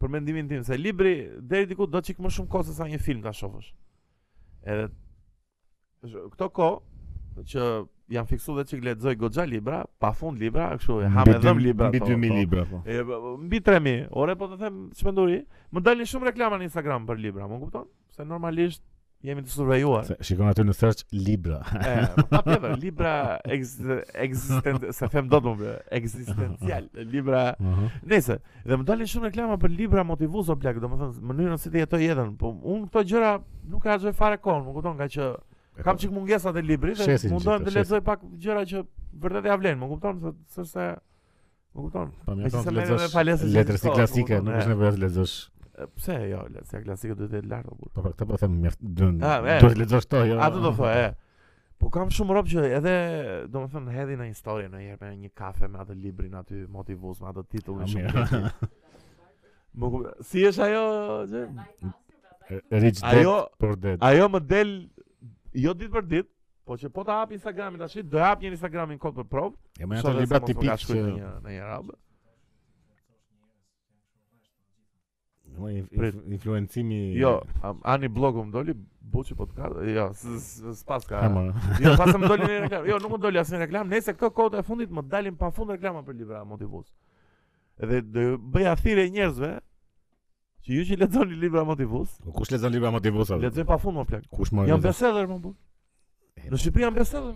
Për mendimin tim se libri deri diku do çik më shumë kohë se sa një film ta shohësh. Edhe sh- këto kohë që jam fiksuar dhe çik lexoj goxha libra, pafund libra, kështu po e ha me
Mbi
dhëm
dy-
libra.
Mbi
to-
2000
to-
libra po.
E, b- b- mbi 3000. Ore po të them çmenduri, më dalin shumë reklama në Instagram për libra, më kupton? Se normalisht jemi të survejuar.
Se Shikon aty në search libra.
E, po pa tjetër, libra ex, ekzistent, se them dot më bë, ekzistencial, libra.
Aha.
Nëse, dhe më dalin shumë reklama për libra motivues o plak, domethënë mënyrën si të jetoj jetën. Po unë këto gjëra nuk e harxoj fare kohën, më kupton, nga që kam çik mungesa të librit dhe
po. Shesin
mundohem
gjithë,
të lexoj pak gjëra që vërtet ja vlen, më kupton, se s'është se- më kupton.
Po
e
më
që se
thon
merrem me
lexosh
falesën që
letrës
gjithë kohë,
klasike,
kupton,
nuk
e.
është nevojë të lexosh.
E, Pse jo, lecia klasike duhet të jetë lart o burr.
Po për këtë po them mjaft. dun-
Ah, e.
Duhet të lexosh këto, jo.
Atë do thoj, e. Po kam shumë rob që edhe, do më thënë, hedhi në një story në herë me një kafe me atë librin aty motivus, me atë titullin
Ah,
shumë
mirë.
keqi. Më kup... Si është ajo, gjë?
Rich Dad
Ajo,
por Dad.
ajo më del, jo ditë për ditë, po që po të hap Instagramin tash, do hap një Instagramin kod për provë.
E më
shoh
ato
dhe
libra
se mos më ka
tipik
shkruajt në
që
një në një arab.
Mo, inf-
Prit.
inf- influencimi
Jo, am- ani blogu më doli, buçi po të ka, jo, s- s- s'pas ka.
Ha, mo.
Jo, pas më doli një reklam. Jo, nuk më doli asnjë reklam. Nëse këto kohët e fundit më dalin pafund reklama për libra motivues. Edhe do bëja thirrje njerëzve që ju që lexoni libra motivues,
Po Kush lexon libra motivuesa?
lexoj pafund më plak.
Kush më
Jam bestseller më burr.
E,
Në Shqipëri jam bestseller.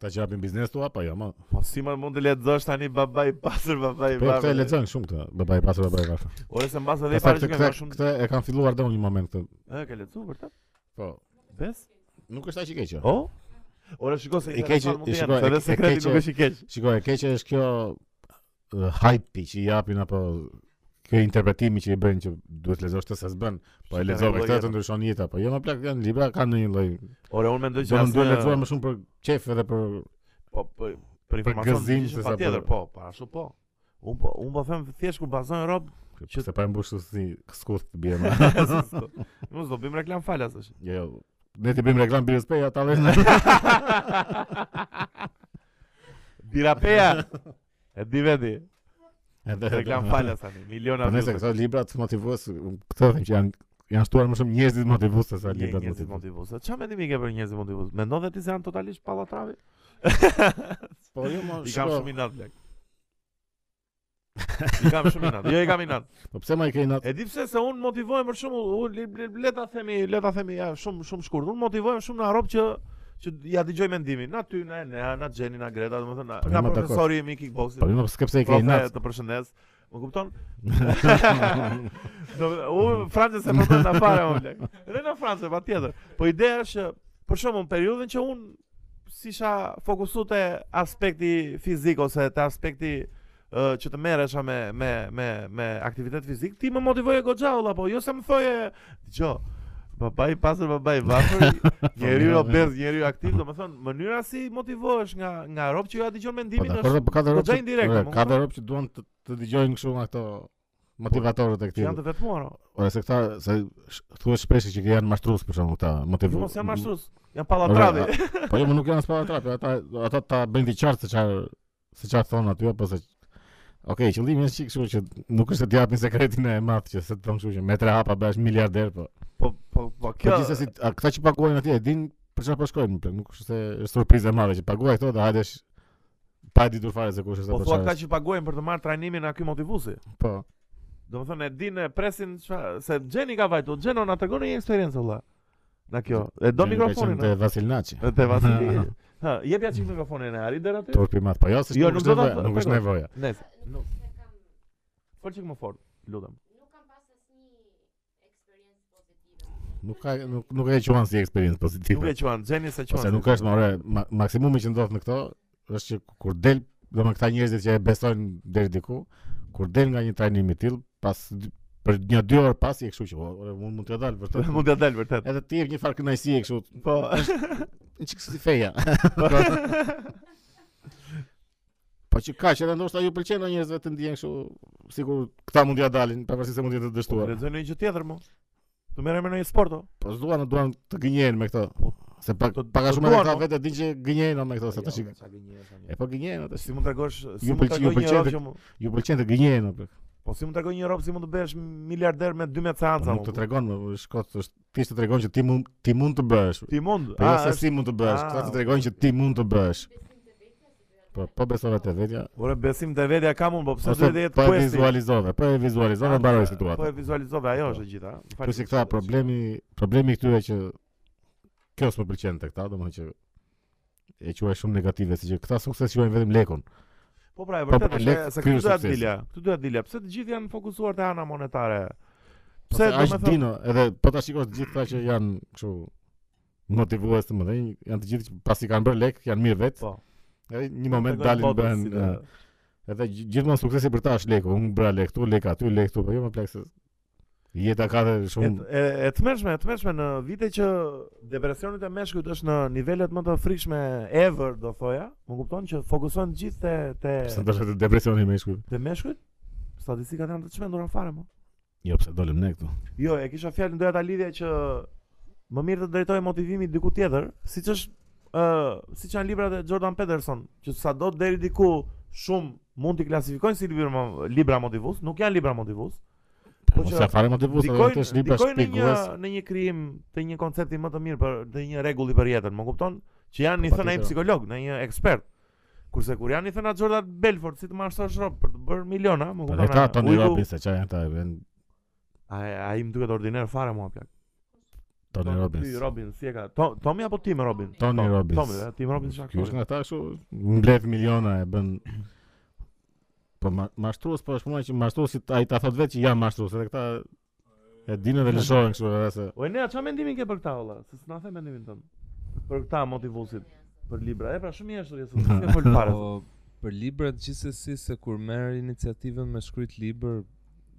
Ta që hapin biznes tu apo jo, ma?
Po si më mund të lexosh tani baba i pasur baba i
Po këta e
baba.
lexojnë shumë këta, baba i pasur baba i pasur.
Ore se mbas edhe i
Pastaj
parë që
këta
kanë
këta-
shumë.
këta e kanë filluar dhe unë një moment këtë.
Ë, ke lexuar vërtet?
Po,
Bes?
nuk është aq i keq. jo.
O? Ora shiko se
I keqi-
interesant mund
i
të jenë,
shikoj,
se
e
dhe
ke- e
sekreti
keqe-
nuk është i keq.
Shikoj, e keqe është kjo uh, hype që i japin apo kjo interpretimi që i bëjnë që duhet lezosh të se s'bën, po e
Shikoj,
lexove
lloj
këtë
jetë.
të ndryshon jeta, po jo më plak janë libra kanë ndonjë lloj.
Ora unë mendoj që
Do të duhet
asnjë-
lexuar më shumë për qef edhe për
Po për për informacion
gëzim
që
se sa
patjetër,
për-
po, po ashtu po. Un po un po them thjesht kur bazojnë rob, Që-
që se pa mbush si skuth të bie më.
mos do bëjmë reklam falas tash.
Jo, jo. Ne ti bëjmë reklam birës pe, ata vetë.
Birapeja. E di veti.
Edhe
Reklam falas tani, miliona
Po nëse
views.
këto libra të motivues, unë këtë them që janë janë shtuar më shumë njerëzit motivues se sa
Një-
libra të
Njerëzit
motivues.
motivues. Çfarë mendimi ke për njerëzit motivues? Mendon dhe ti se janë totalisht pallatravi?
Po jo më
I kam
shko.
shumë inat blek. I kam shumë inat. Jo i kam inat.
Po pse më i ke natë?
E di pse se un motivohem për shumë, un le- le- le ta themi, le ta themi ja, shumë shumë shkurt. Un motivohem shumë në Arab që që ja dëgjoj mendimin. Na ty, na ne, na Xheni, na Greta, domethënë na,
Po,
na
jam dakord.
profesori im i kickboxit.
Po jo më s'ke pse i ke
Profe,
natë.
të përshëndes. Më kupton? Do u Francës e përmend na fare më blek. Edhe në Francë patjetër. Po ideja është që, për shembull periudhën që un si isha fokusu te aspekti fizik ose te aspekti ë, që të merresha me me me me aktivitet fizik, ti më motivoje goxha valla, po jo se më thoje dëgjoj Babai pasër, babai vafër, njeriu
Po,
obez, njeriu aktiv, domethënë mënyra si motivohesh nga nga rob që ja
Po
dëgjon mendimin
dakor, po ka dhe
goxha
rrobë.
indirekte, më
Ka
kupton?
dhe rrobë që duan të të dëgjojnë kështu nga ato motivatorët e
që janë
këtij.
të vetmuar. o.
Ora se këta se sh- thuhet shpesh që janë mashtrues për shkakun këta
Jo
motivues.
mos janë mashtrues, janë pallatravi.
Po jo, më nuk janë spa trap, ata ata ta bëjnë të qartë se çfarë se çfarë thon aty apo se Okej, qëllimi është çik kështu që nuk është se të japin sekretin e madh që se të them kështu që me tre hapa bëhesh miliarder po.
Po po po
Kjo
kjo
gjithsesi a këta që paguajnë atje e din për çfarë po shkojnë, plak, nuk është se është surprizë e madhe që paguaj këto dhe hajdesh pa e ditur fare se kush është
po
apo
thua
çfarë.
këta që paguajnë për të marrë trajnimin nga ky motivuesi.
është. Po.
Domethënë e dinë e presin çfa- se Xheni ka vajtu, Xheno na tregon një eksperiencë valla. Na kjo. E do
Gjeni ka qenë
mikrofonin.
te Vasilnaçi.
Te Vasili. Ha, jep ja çik mikrofonin e Ari deri aty.
Turpi madh. Po jo, se
Jo,
nuk
nuk do
është
ta-
nevoja, nuk është
tregoj.
nevoja.
Nëse. Nuk. Fol çik më fort, lutem.
Nuk kam pas asnjë eksperiencë pozitive.
Nuk ka nuk nuk e quan si eksperiencë pozitive.
Nuk e quan Xheni se quan.
Ose nuk është më ore, ma, maksimumi që ndodh në këto është që kur del, domethënë këta njerëzit që e besojnë deri diku, kur del nga një trajnim i tillë, pas dy- për një dy orë pas i e kështu që "O, ore unë mund të dal vërtet.
mund t'ia dal vërtet.
Edhe ti jep një farë kënaqësie kështu,
Po.
një çik si feja. Po që kaq edhe ndoshta ju pëlqen ndonjë njerëzve të ndjen kështu, sikur këta mund ja dalin, pavarësisht se mund të jenë të dështuar.
Lexoj një gjë tjetër më. Të merrem me një sport o.
Po s'duan, duan të gënjejnë me këto. Se pak
Po,
pak a
po
shumë edhe
duan,
këta
po. Jo,
vetë e dinë që gënjejnë me këto, se tash i-
çka gënjesh tani.
e po gënjejnë ata.
Si mund tregosh, si
Ju
mund
pëlqen- ju
tregoj një
pëlqen
rob
të-
që mu-
Ju pëlqen të gënjejnë apo?
Po si mund të një rob si mund të bëhesh miliarder me 12
Po
seanca?
nuk
mo.
të tregon, më shkot, është thjesht të tregon që ti mund ti mund të bësh.
Ti mund.
Po jo se
është-
si mund të bësh,
Ah,
këta të
okay.
tregojnë që ti mund të bësh. Po po besove te vetja.
Ore besim te vetja kam unë, po pse
Ose
duhet të jetë
po e
questi?
vizualizove, po e vizualizove mbaroi
Po e
situatën. Po.
vizualizove ajo është e gjitha. a? Më fal-
Kjo si këta problemi, problemi këtyre që kjo s'më pëlqen te këta, domethënë që e quaj shumë negative, si që këta sukses quajnë vetëm lekun.
Po pra e
Po,
vërtet
po,
është
lek-
e- se
ky
këtu
është
duhet
suksesi.
dilja. Këtu duhet dilja. Pse të gjithë janë fokusuar te ana monetare?
Pse
Pse do
Po aq
të thonë
dino, edhe po ta shikosh të gjithë këta që janë kështu motivues të mëdhenj, janë të gjithë që pasi kanë bërë lek, janë mirë vetë.
Po.
Edhe një moment dalin bëhen eh, Edhe gj- gjithmonë suksesi për ta është leku. Unë bra lek këtu, lek aty, lek këtu, po jo më plak se jeta ka dhe shumë
E, e, e të mërshme, e të mërshme në vite që depresionit e meshkujt është në nivellet më të frikshme ever, do thoja, më kupton që fokusohen gjithë te, te,
se ndoshta të depresioni me shkruaj.
te meshkujt, statistikat janë të çmendura fare më.
Jo, pse dolëm ne këtu.
Jo, e kisha fjalën doja ta lidhja që më mirë të drejtoj motivimin diku tjetër, siç është ë siç janë librat e Jordan Peterson, që sado deri diku shumë mund t'i klasifikojnë si libra, libra motivues, nuk janë libra motivues.
Po mos ja fare më të busë,
Dikojnë,
atë është libra
dikojnë në një
shpjegues.
në një krijim të një koncepti më të mirë për të një rregulli për jetën, më kupton? Që janë i
Po,
thënë ai
patjetër.
psikolog, në një ekspert. Kurse kur janë i thënë atë Jordan Belfort si të mashtrosh rob për të bërë miliona, më
Po
kupton?
dhe ta
a-
Tony
ujku-
Robbins, se çfarë janë ta? janë
Ai ai më duket ordinar fare mua plak.
Tony
Tom-
Robbins.
Ty Robin, si e ka? To, Tommy apo Tim Robin?
Tony
Tom-
Robbins.
Tommy, eh, Tim Robin është
Ky është
aktori.
nga ta kështu mbledh miliona e bën Po ma- mashtrues po është puna që mashtruesit ai ta thot vetë që jam mashtrues, edhe këta e dinë dhe lëshohen kështu edhe se
O e nea, çfarë mendimi ke për këtë olla? Se s'na the mendimin tënd. për këta motivuesit për libra. E pra shumë mirë është rjesu, nuk e fol fare.
Po për librat gjithsesi se kur merr iniciativën me shkruajt libër,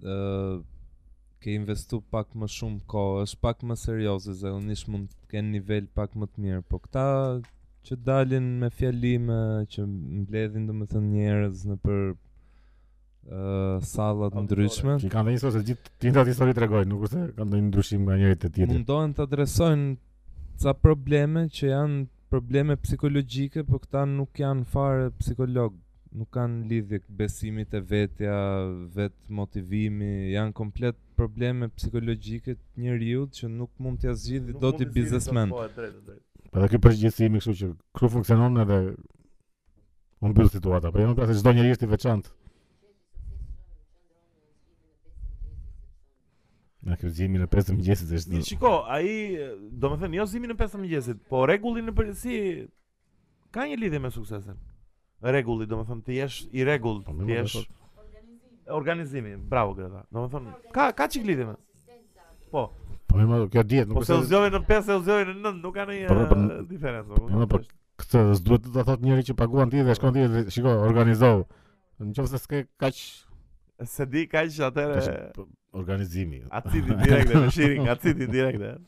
ë ke investu pak më shumë kohë, është pak më serioze, zakonisht mund të kenë nivel pak më të mirë, po këta që dalin me fjalime, që mbledhin domethënë njerëz në për ë sallat
Auditore.
ndryshme,
Që kanë dhënë sose gjithë tindat histori tregojnë, nuk është se kanë ndonjë ndryshim nga njëri te
Mm.
tjetri.
mundohen të adresojnë ca probleme që janë probleme psikologjike, por këta nuk janë fare psikolog, nuk kanë lidhje besimit e vetja, vetë motivimi, janë komplet probleme psikologjike të njeriu që nuk mund t'ja zgjidhë
Nuk
do
mund
t'i
të zgjidhni
biznesmen.
dot, Po, e drejtë, e drejtë.
Po dhe ky përgjithësimi kështu që kru funksionon edhe unë bëll situata, po jo pra se çdo njeri është i veçantë. Në kryzimin e 5 mëngjesit është
Mirë, shiko, ai, do me thënë, jo zimin e 5 të mëngjesit, po regullin në përgjithësi ka një lidhje me suksesin. Regulli, do me thënë, ti jesh i regull,
Po, mirë,
ti
po,
jesh organizimi, bravo Greta. Do me thënë, ka, ka çik lidhje me. Po,
Po më marr, kjo dihet,
po
nuk
se u
është. se-
zgjodhe në 5, se u zgjodhe në 9, nuk ka
Po, po, po,
ndonjë diferencë.
po, po,
kupton?
Këtë s'duhet të ta thotë njëri që paguan ti dhe shkon ti dhe shiko, organizo. Në qoftë se s'ke kaq
Se di kaq atëre
tash, po, organizimi.
aciti direkte me shirin, aciti direkte.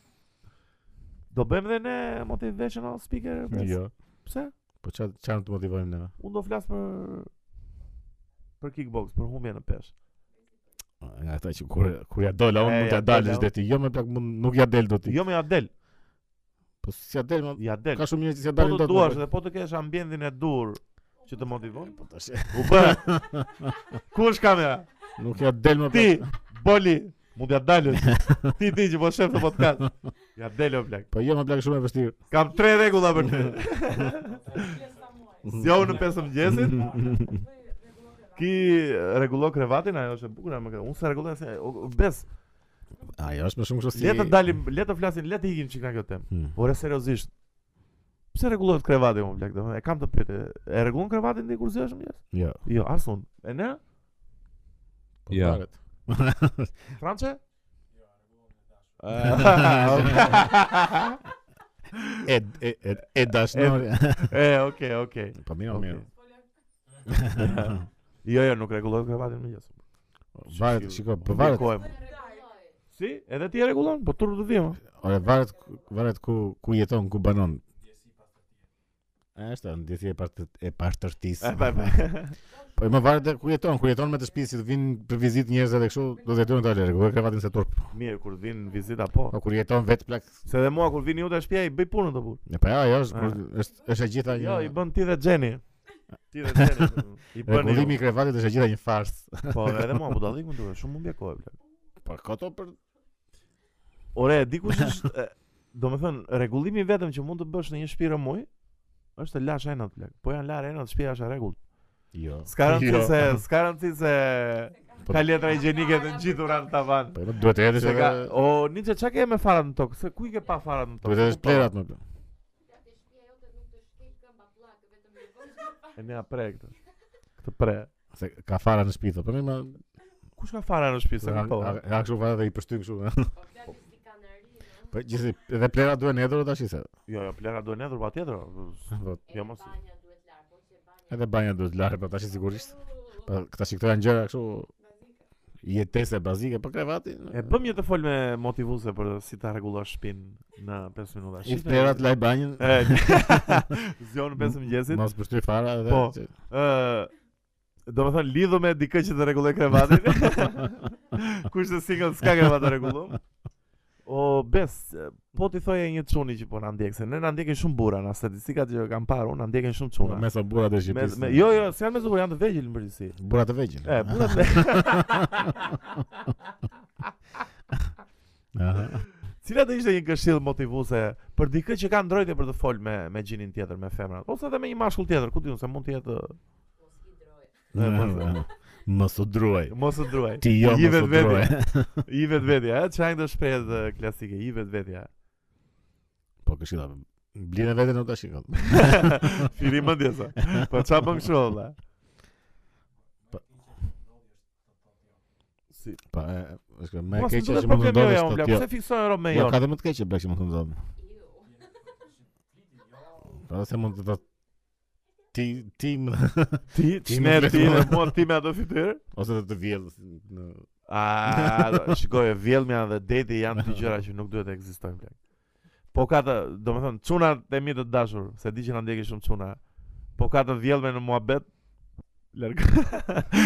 Do bëjmë dhe ne motivational speaker? pres?
Jo.
Pse?
Po çfarë çfarë të motivojmë ne?
Unë do flas për për kickbox, për humbje në peshë.
Nga ata që kur kur ja dola unë
E,
mund
ja
t'ja
del,
dalësh
ja.
deti. Jo më plak mund nuk ja del dot ti.
Jo me ja del,
Po si ja del, më-
ja del.
ka shumë njerëz që ja
Po
dalin
të
dot. më
duash
plak.
dhe po të kesh ambientin e dur që të motivon.
Po tash
U bë. Ku është kamera?
nuk ja del më
Ti,
plak.
Boli, mund ja dalësh. Ti ti që po shef të podcast. Ja del o plak.
Po jo më plak shumë e vështirë.
Kam tre rregulla për ty. Zjau në 5 mëngjesit. Ki rregullo krevatin, ajo është e bukur ajo më krevat. Unë se rregulloj se o- o, bes,
Ajo është më shumë kështu si.
le të dalim, le të flasim, le të ikim çik nga kjo temë.
Hmm.
Ore seriozisht. Pse rregullohet krevati më plak, domethënë e kam të pyet. e- E rregullon krevatin ti kur zgjesh mëngjes?
Jo.
Jo, asun. E ne?
Po
Ja.
varet.
France?
Jo, E e e, e dashnore.
e, okay, okay.
Po mirë,
Okay.
mirë.
Jo, jo, nuk rregullohet kravatin më jes.
Varet, shiko, po varet.
Si? Edhe ti e rregullon, po turp të vijmë.
Ore varet varet ku ku jeton, ku banon. A është ndjesi e part e partërtisë.
E, pa, pa.
Po më varet dhe ku jeton, ku jeton me të shtëpisë, si të vinë për vizitë njerëz edhe kështu, do të jetojnë ta lërë, ku e kravatin se turp.
Mirë, kur vin vizita po.
Po kur jeton vet plak.
Se edhe mua kur vini ju te shtëpia i bëj punën të burr.
Ne pa ja, ajo është kur është është e gjitha një.
Ah. Jo, i bën ti dhe Xheni. Ti dhe Xheni. I bën.
Rregullimi i kravatit është e gjitha një farsë.
Po, edhe mua po dallim më duhet, shumë humbje kohë. bla.
Po koto për
Ore, di kush është, e, do me thënë, regullimi vetëm që mund të bësh në një shpirë muj, është të lash enat plak. Po janë larë enat, shpia është e regull.
jo.
S'ka rëndësi
Jo.
se, s'ka rëndësi se
Po-
ka letra higjienike të ngjitura në tavan.
Po jo, duhet të hedhësh
Se
edhe
ka, o, Nice, çka ke me farat në tokë? Se ku i ke pa farat në tokë?
duhet të hedhësh
Ku pa?
plerat më.
E nea pre këtë. Këtë pre.
Se ka fara në shtëpi, po më ma
Kush ka fara në shtëpi se
ka
ku po?
ka kështu fara dhe i përshtyp kështu. Po gjithsesi, edhe plerat duhen hedhur tash se.
Jo, jo, plera duhet nedhur patjetër.
Po
Jo mos.
edhe banja duhet larë, po tash sigurisht. Po këta shikto janë gjëra kështu jetese bazike, po krevati.
E bëm një të fol me motivuese për si ta rregullosh shtëpinë në 5 minuta.
I
Shifte-
plerat laj banjën.
po, E, Zion në 5 mëngjesit.
Mos përshtyj fara edhe.
Po.
që-
Ë, do të thënë lidhu me dikë që të rregulloj krevatin. Kush të single s'ka krevat të rregullum. O bes, e, po ti thoje një çuni që po na ndjek, se ne na ndjekin shumë burra, na statistikat që kam parë, unë na ndjekin shumë
Po,
çuna.
Mesa burra të
Me,
Shqipërisë.
me, jo, jo, s'kan me zubur, janë të vegjël në përgjithësi.
Burra të vegjël.
E, burra të
Aha.
Cila do ishte një këshill motivuese për dikë që ka ndrojtje për të fol me me gjinin tjetër, me femrat, ose edhe me një mashkull tjetër, ku diun se mund të jetë E, mos-
Mos u druaj.
mos të druaj.
Ti jo
I
mos u
vetvetja.
druaj.
I vetë vetja, e, që angë të shprejt klasike, i vetë vetja.
Po këshilla. Blinë veten nuk ta shikon.
Firi më ndjesa, po qa bën kështu olla. Si,
Po, e, është më e
mos
keqja
më
që
duhet
mund të
problemi jo
ndodhë
jam,
është
blak,
kjo.
pse fiksojnë rob me
Jo,
jonë?
ka dhe më të keqe blak që mund të ndodhë. Pra se mund të ta ti tim
Ti,
Ti
ti
më
me
flet
ti
mua.
në mua ti me ato fytyrë.
ose të të vjedh në
A, do- shikoj, vjellmja dhe deti janë dy gjëra që nuk duhet të ekzistojnë bler. Po ka të, do me thënë, çunat e mi të dashur, se di që na ndjeki shumë çuna. Po ka të vjellme në muhabet. Largo.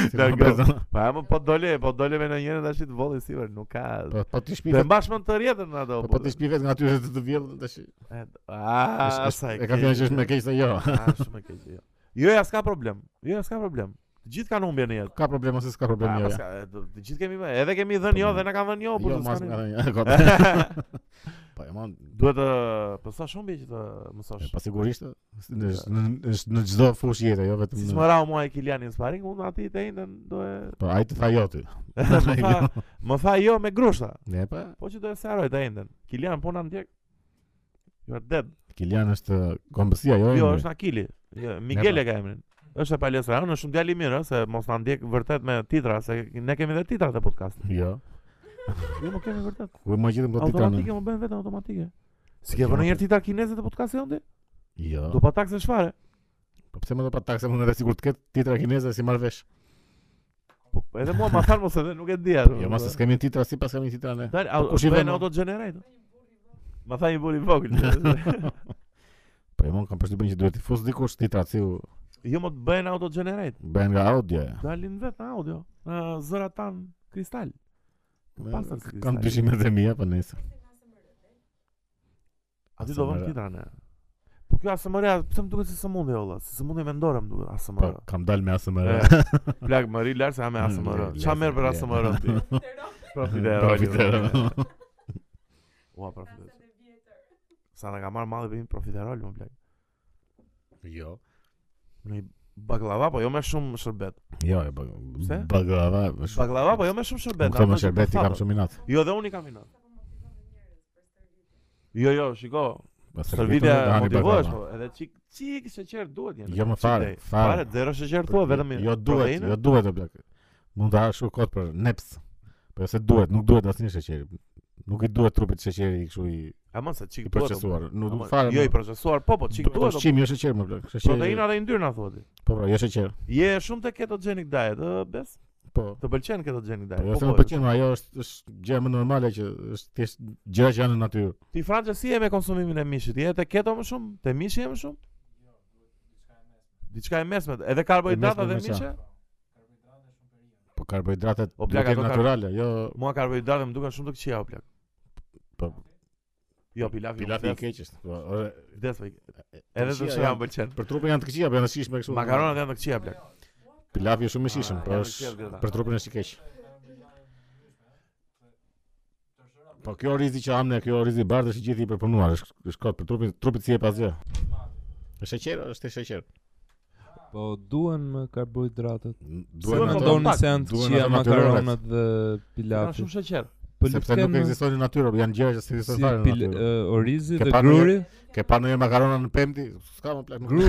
si
Largo.
kompleto.
Po e më po dole, po dole me në njërin tash të volli si ver, nuk ka.
Po po ti shpi
Dhe
vetë,
mbashmën të rjetën në ato.
po po ti shpi vetë nga aty se të të vjedh tash. Është-
A,
është-
sa
e ka fjalë që është më keq se jo.
A, shumë e keq, jo. Jo, ja s'ka problem. Jo, ja s'ka problem. Të gjithë kanë humbje në jetë.
Ka problem ose s'ka problem
A,
jo.
po
ja.
s'ka- e, Të gjithë kemi, edhe kemi dhënë jo dhe na kanë dhënë jo, po
Jo, mas
s'ka.
nga
një-
një. Po e mund
Duhet të pësosh shumë bje që të mësosh.
Po sigurisht është në- është në çdo fushë jete, jo vetëm.
Si
në-
më rau mua e Kiliani në sparing, unë ati të indën do e...
Po ai të tha jo ti.
më, tha, më tha jo me grushta,
Ne po
po që do e seroj të indën. Kilian, po në ndjek. You are dead.
Kilian është kombësia jo.
Jo,
emri.
është Akili. Jo, Miguel e ka emrin. është e palestra, unë është shumë djali mirë, ë, se mos na ndjek vërtet me titra, se ne kemi dhe titra të podcast.
Jo.
Jo, më kemi vërtet.
Ku e më gjithëm do titanë?
Automatike, më bëjmë vetëm automatike. Si
Jo,
ke vënë
ma-
një herë titra kineze të podcastit jonë ti?
Jo.
Do pa takse shfare.
Po pse më do pa taksë mund edhe sigur të ketë titra kineze si marr vesh.
Po, edhe mua ma than mos edhe nuk e dia.
Jo, mos s'kemi titra sipas kemi titra ne.
Dal,
Po,
au,
kush i
bëjnë
vënë?
auto generate. Ma tha një buri vogël.
Po e mon kam përshtypjen që duhet të fus dikush titra si u
jo më të bëjnë auto generate.
bën nga audio. ja.
Dalin vetë në audio. Në zëra tan kristal.
Me-
Pastër si
Kam
kristal.
dyshimet e mia, po nesër.
Aty do vëmë
ASMR.
titra ne. Po kjo ASMR, pse më duket si sëmundje olla, si sëmundje mendore më duket
Po
ASMR.
kam dal me ASMR.
E, Plak Mari Lars ha me ASMR.
Mm,
Ça merr për
le-
ASMR ti? Profitero.
Profiterol.
Ua, profiterol. Sa na ka marrë malli për një profiterol më plak.
Jo.
Në një baklava, po jo me shumë shërbet.
Jo, e bag-
Pse?
baklava. është-
Baklava, po jo me shumë
Unë
shërbet.
Këto
ato
me
që
shërbet i
përfatën.
kam shumë inat.
Jo, dhe unë i kam inat. Jo, jo, shiko,
Po,
Stërvitja
hani
motivohesh,
baklava.
po, edhe çik çik sheqer duhet një.
Jo më fare,
Fare
fare.
zero sheqer thua vetëm.
Jo duhet, jo duhet o blak. Mund ta hash kot për neps. Po se duhet, nuk duhet asnjë sheqer. Nuk i duhet trupit sheqeri kështu i
Ama se çik
i
duhet.
procesuar. Nuk
Ama,
duhet fare.
Jo
mo.
i procesuar, po po çik
Duhet
duhet. o-
Ushqim jo sheqer më blak. Sheqer.
Proteina dhe yndyrna thua ti.
Po pra, jo sheqer.
Je shumë te ketogenic diet, ë bes?
Po.
Të pëlqen ketogenic
Po
diet.
jo se
po,
më
po,
pëlqen, ma, ajo është është gjë më normale që është thjesht gjëra që janë në natyrë.
Ti Franca si je me konsumimin e mishit? Je te keto më shumë? Te mishi je më shumë? Diçka e mesme. Edhe karbohidrata
E mesme
dhe
me qa?
mishi?
Po karbohidratet
O,
duhet
plak,
të jenë
ato kar-
natyrale, jo
Mua karbohidrate më duken shumë të këqija o plak.
Po.
Jo pilafi.
pilafi i keq është. Po, ore,
Vdes. Edhe
këqija
të
janë.
shëra më pëlqen.
Për trupin janë të këqija, po janë të shishme kështu.
Makaronat janë të këqija plak.
Pilafi është shumë i shishëm,
Ah,
po
janë të
është
qelë gjëra.
për trupin është i keq. Po kjo rizi që amne, kjo rizi i bardhë është i gjithë i përpunuar, është është kot për trupin, trupit si e pas gjë. Është sheqer, është e sheqer.
Po duhen më karbohidratet.
N- Duhen
Duhen
më
më
ato,
ndonë-
doni se janë të
duhen
qia
ato natyrore.
makaronat dhe
Janë
pilafi.
shumë sheqer.
Po
sepse nuk ekzistojnë në natyrë, janë gjëra që
si
s'ekzistojnë fare në
pil,
natyrë.
uh, orizi
Ke
dhe
parë ndonjë-
gruri.
Ke pa ndonjë makarona në pemti? S'ka më plak. nuk-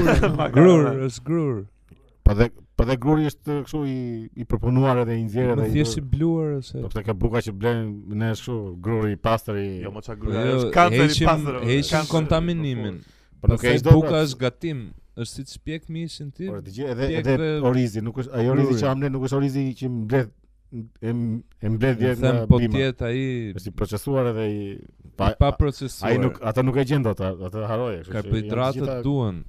Grur, grur, është grur.
Po dhe po dhe gruri është kështu i i përpunuar edhe i nxjerrë
Më
edhe i.
thjesht i bluar ose.
Po pse ka buka që blen ne kështu gruri i pastër i.
Jo, më çak
Po
gruaja.
jo,
Është kanceri i
heqim-
pastër. o,
Heqim
kanceri.
kontaminimin.
po nuk e
Pastaj
hiq do.
Buka
bra.
është gatim. Është si të shpjek mishin ti.
Por të gjë edhe
pjek
edhe
dhe-
orizi, nuk është ajo orizi
Gruri.
që am ne, nuk është orizi që mbledh e m- e mbledh dje
Them
nga
po
bima.
tjetë ai
Është i procesuar edhe i
i pa procesuar.
ai nuk ata nuk e gjen dot, a- ata haroje, kështu që janë të
Karbohidratet
gjitha-
duhen.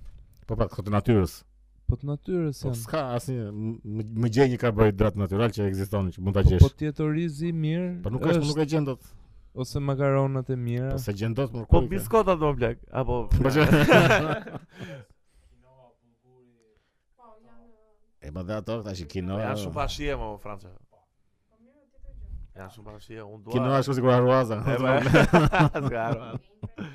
Po pa këto natyrës.
Po të natyrës
Po
janë.
s'ka asnjë m- m- më gjej një karbohidrat natyral që ekziston që mund ta
Po, po
gjesh.
tjetë orizi mirë.
Po nuk është, nuk e gjen dot.
ose makaronat e mira.
Po se gjen dot më
Po
ku i ke?
biskota do blek. Apo
Po që- E më dhe ato këta që kinoa
janë shumë pashie më Franca. Janë shumë pashie, unë dua.
Kinoa është sikur arruaza
E, ba, zgaro.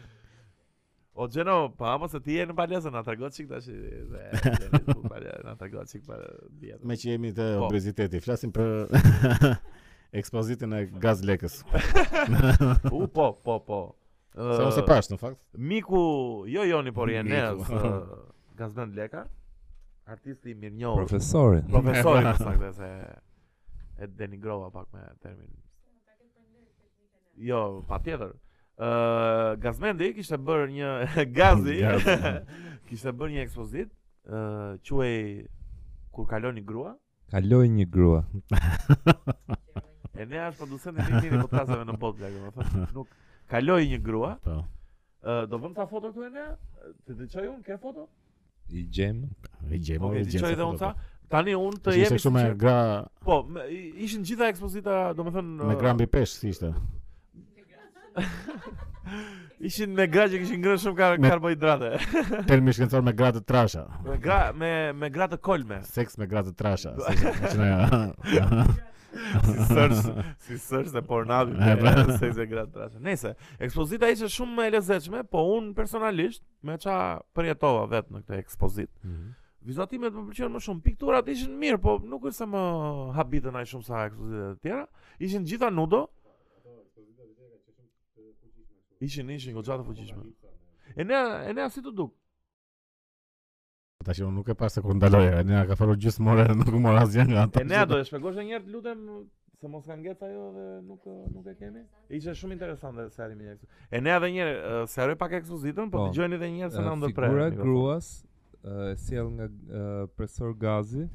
O Gjeno, pa ama se ti je në palesë, na tregon çik tash. e, dhe, Gjeni, tu palesë, Na tregon çik për dietë.
Me që jemi të
Po.
obeziteti Flasim për ekspozitin e gaz lekës
U po, po, po.
Se
Ë,
ose pash në fakt
Miku, jo Joni, por je ne.
Miku.
Gazmend Leka, artisti i mirënjohur.
Profesori.
Po.
Profesori më saktë se e denigrova pak me termin. Jo, Eh, patjetër. Ë Gazmendi kishte bërë një gazi.
Gazi.
kishte bërë një ekspozit, ë quhej kur kalon një grua,
Kaloj një grua.
e ne është producent i një mirë i podcasteve në botë, plagë, më thënë, nuk kaloi një grua,
Po.
ë do vëm ca foto këtu e ne, të të çoj unë, ke foto?
I gjem.
I gjejmë,
Okej,
i
të
gjejmë.
çoj Po, dhe unë ca. Tani unë të
jemi
jemi
kështu me
sinqer-
gra
Po, me, i- ishin gjitha ekspozita, uh, do më thënë
me
ë,
gra mbi peshë si ishte.
Ishin me gra që kishin ngrënë shumë kar
Me-
karbohidrate.
Termi shkencor me gra të trasha.
Me gra me me gra të kolme.
Seks me gra të trasha.
Do-
si ishte, që na-
si sërsh, si sërsh dhe pornavi
E, pra.
me seks me gra të trasha. Nëse, ekspozita ishte shumë e lezetshme, po unë personalisht me ça përjetova vetë në këtë ekspozit. Vizatimet më pëlqen më shumë. Pikturat ishin mirë, po nuk është se më habitën ai shumë sa ekspozitat e tjera. Ishin gjitha nudo. Ishin, ishin goxha të fuqishme. E ne, e ne si të duk?
Po Tash unë nuk e pasë kur ndaloja. Ne ka falur gjysmë ore, nuk u mora asgjë nga ato.
E ne do e shpjegosh edhe një herë lutem se mos ka ngec ajo dhe nuk nuk e kemi. Ishte shumë interesante se arimi i ekspozitës. E ne edhe një herë se haroj pak ekspozitën, po
Po.
dëgjojeni edhe një herë se na
Ë,
ndërprer.
Figura
mikrofoni.
gruas ë, e sjell nga ë, presor gazi.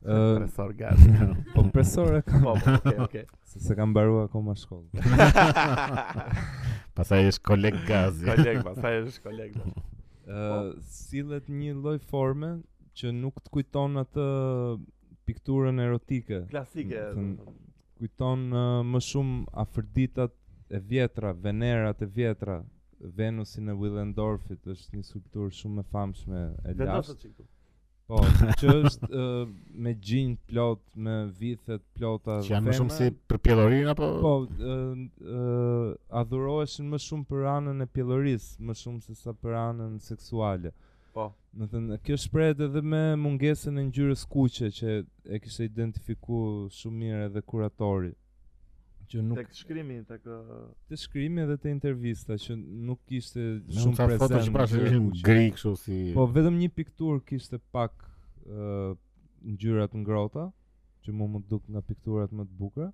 ë,
Profesor Gazi.
po presor e kam,
Po, po, okay, okay.
se se kam mbaruar akoma shkollë.
Pastaj është koleg gazi.
Koleg, pastaj është koleg. tash.
Ë, sillet një lloj forme që nuk të kujton atë pikturën erotike.
Klasike.
Thënë, Kujton ë, më shumë Afroditat e vjetra, Venerat e vjetra, Venusin e Willendorfit është një skulpturë shumë e famshme e
Vendosë
lashtë.
çik këtu.
Po, që është ë, me gjinj plot, me vithet plota.
Që janë më shumë si
femra.
për pjellorin apo
po ë, ë, adhuroheshin më shumë për anën e pjellorisë, më shumë se sa për anën seksuale.
Po.
Më thënë, kjo shprehet edhe me mungesën e ngjyrës kuqe që e kishte identifikuar shumë mirë edhe kuratori. Që nuk
Tek shkrimi, tek uh, ë,
të shkrimi edhe të intervista që nuk kishte
shumë
shumë
ca foto
prezent.
që pra pasë
ngjyra
ishin
kuqe.
gri kështu si
Po vetëm një pikturë kishte pak ë ngjyra të ngrota, që mu më duk nga pikturat më të bukura.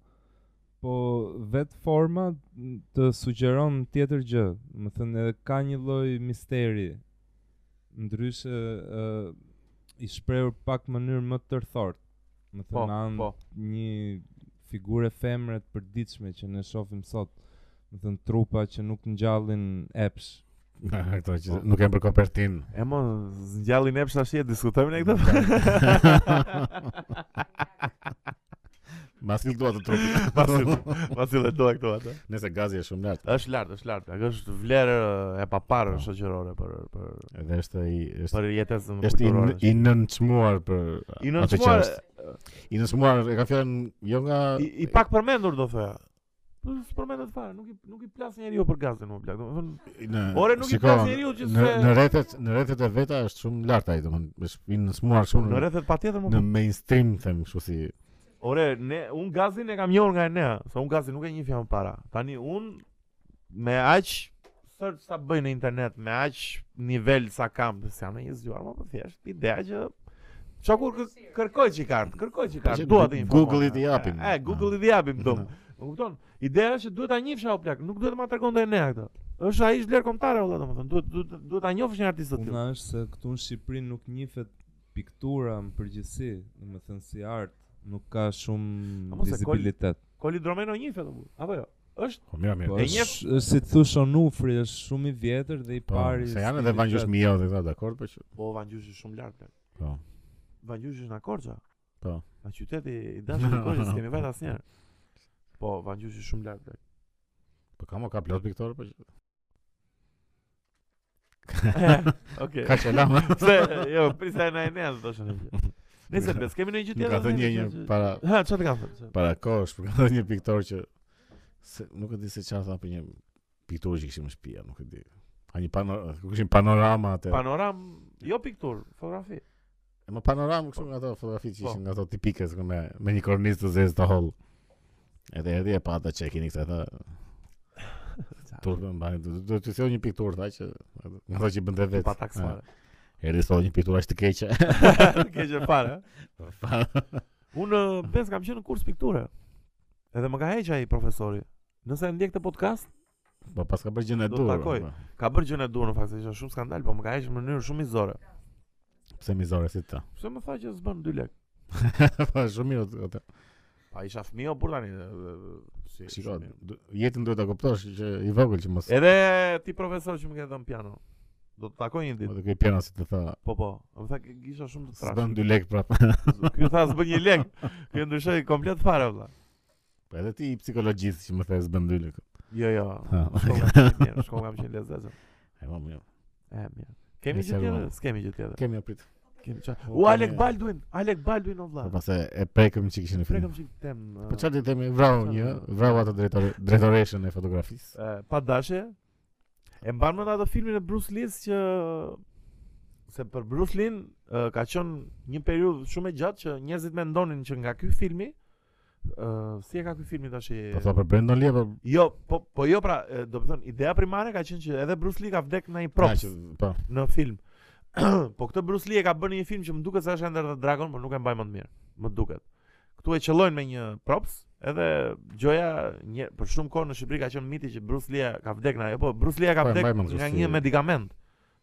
Po vetë forma n- të sugjeron tjetër gjë, më thënë edhe ka një lloj misteri. Ndryshe ë i shprehur pak në mënyrë më tërthort. Më
po,
thënë anë
po.
një figurë femre të përditshme që ne shohim sot. Më thënë trupa që nuk ngjallin epsh.
ato që nuk janë për kopertin.
E mo, zgjallin epsh tash e diskutojmë ne këtë.
Mas dua të trupit.
Pasi, pasi dhe dua këtu atë.
Nëse gazi është shumë lart.
Është lart, është lart. plak, Është vlerë e paparë
Po.
shoqërore për për
Edhe është i është
për jetesën
është i
kulturore.
n- i nënçmuar për
I
atë që
nënçmuar,
është. I nënçmuar e ka fjalën jo nga
i, i pak përmendur do thoya. Po përmendet fare, nuk i nuk i plas njeriu për gazin më plak. Domethënë,
në
ore nuk i
shiko,
plas njeriu që
Në
se
në rrethet në rrethet e veta është shumë lart ai, domethënë është i nënçmuar shumë
në
në,
rrethet patjetër më.
në mainstream them kështu si
Ore, ne un gazin e kam njohur nga Enea, se un gazin nuk e njeh jam para. Tani un me aq search sa bëj në internet, me aq nivel sa kam, se jam në një zgjuar më për thjesht, ideja që Qa kur kë- kërkoj që i kartë, kërkoj që i kartë,
që
dua të informoj.
Google-it i japim.
E, e, Google-it i japim, dom. Më kupton? Ideja është që duhet ta njihsh apo plak, nuk duhet ma tregonte ne këtë. Është ai vlerë kombëtare valla domethënë, duhet duhet duhet ta njofësh një artist të tillë.
Puna është se këtu në Shqipëri nuk njifet piktura në përgjithësi, do të thënë si art, nuk ka shumë
Apo se kol-
vizibilitet.
Koli Dromeno njifet apo? Apo jo? Është
po mira
Po
mirë.
e
është,
njeh-
është si të thush Onufri, është shumë i vjetër dhe i
Po,
pari.
se janë edhe
stilitet.
Vangjush Mio dhe këta, dakor, po që
po Vangjysh është shumë lart plak.
po.
Vangjysh është në Korça.
Po.
Në qyteti i dashur i Korçës kemi vajt asnjëherë. Po Vangjysh është shumë lart plak.
Po ka mo ka plot piktorë po që
Okej.
ka çelama.
Se jo, prisa na e ne do të shohim. Nëse bes kemi në një gjë
Nuk ka
tjetër.
thënë një një
që-
para
Ha, çfarë të kam thënë?
para kohësh, por ka thënë një piktor që se, nuk e di se çfarë tha për një pikturë që kishim në shtëpi, nuk e di. Ka një panorama, kishim panorama atë.
Panoram, jo piktur, fotografi.
E më panoramë kështu nga ato fotografi që
Po.
ishin nga ato tipike s'ku me me një kornizë të zezë të holl. Edhe erdhi e pata që e keni këtë tha. Turpë mbani, do do të sjell një pikturë tha që nga ato që bën vetë.
Pa taks fare.
Erdhi sot një pikturë aq të keqe. Po,
Keq e fare. Unë bes kam qenë në kurs pikture. Edhe më ka heq ai profesori. Nëse e ndjek këtë podcast,
Po pas ka bërë gjën e
Do
dur.
takoj.
po.
Ka bërë gjën e durë në fakt se ishte shumë skandal, po më ka hequr në mënyrë shumë mizore.
Pse mizore si ta.
Pse më tha që s'bën 2 lekë?
Po shumë mirë. o- o ta-
Pa isha fëmijë o burr tani. e, e, Si
Shiko,
shumë mirë.
du- jetën duhet ta kuptosh që i vogël që mos.
Edhe ti profesor që më ke dhënë piano. Do të takoj një
Po
ditë.
të kej piano si të tha.
Po po, më tha "Ke- kisha shumë të
S'bën 2
trash.
lekë prapë.
Ky tha s'bën një lek. Ky ndryshoi komplet fare valla.
Po edhe ti i psikologjist që më the s'bën 2 lekë.
Jo, jo.
Ha.
Shkon kam qenë mirë, shkon kam qenë lezetshëm.
E po mirë.
E mirë. Kemi
Nëse
gjë tjetër?
rrugë.
S'kemi gjë tjetër.
Kemi aprit.
Kemi çfarë?
Po,
U Alek
kemi-
Baldwin, Alek Baldwin o
Po
vlla.
pas e e prekëm që kishin në film.
Prekëm çik tem. uh,
Po çfarë
e
do të themi? Vrau një, vrau atë drejtore, drejtoreshën e fotografisë.
e, pa dashje. E mban mend atë filmin e Bruce Lee që se për Bruce Lee e, ka qenë një periudhë shumë e gjatë që njerëzit mendonin që nga ky filmi ë si e ka ky filmi tash? e-
Po tha për Brendon Lee apo
Jo, po po jo pra, e, do të thonë ideja primare ka qenë që edhe Bruce Lee ka vdek në një props
Na, që- Po,
në film. po këtë Bruce Lee e ka bërë në një film që më duket se është Ender the Dragon, por nuk e mbaj më të mirë. Më duket. Ktu e qellojnë me një props, edhe gjoja një për shumë kohë në Shqipëri ka qenë miti që Bruce Lee ka vdekë na, po Bruce Lee ka
Po, e mbaj
vdekë
mend
nga
këtë si-
një medikament.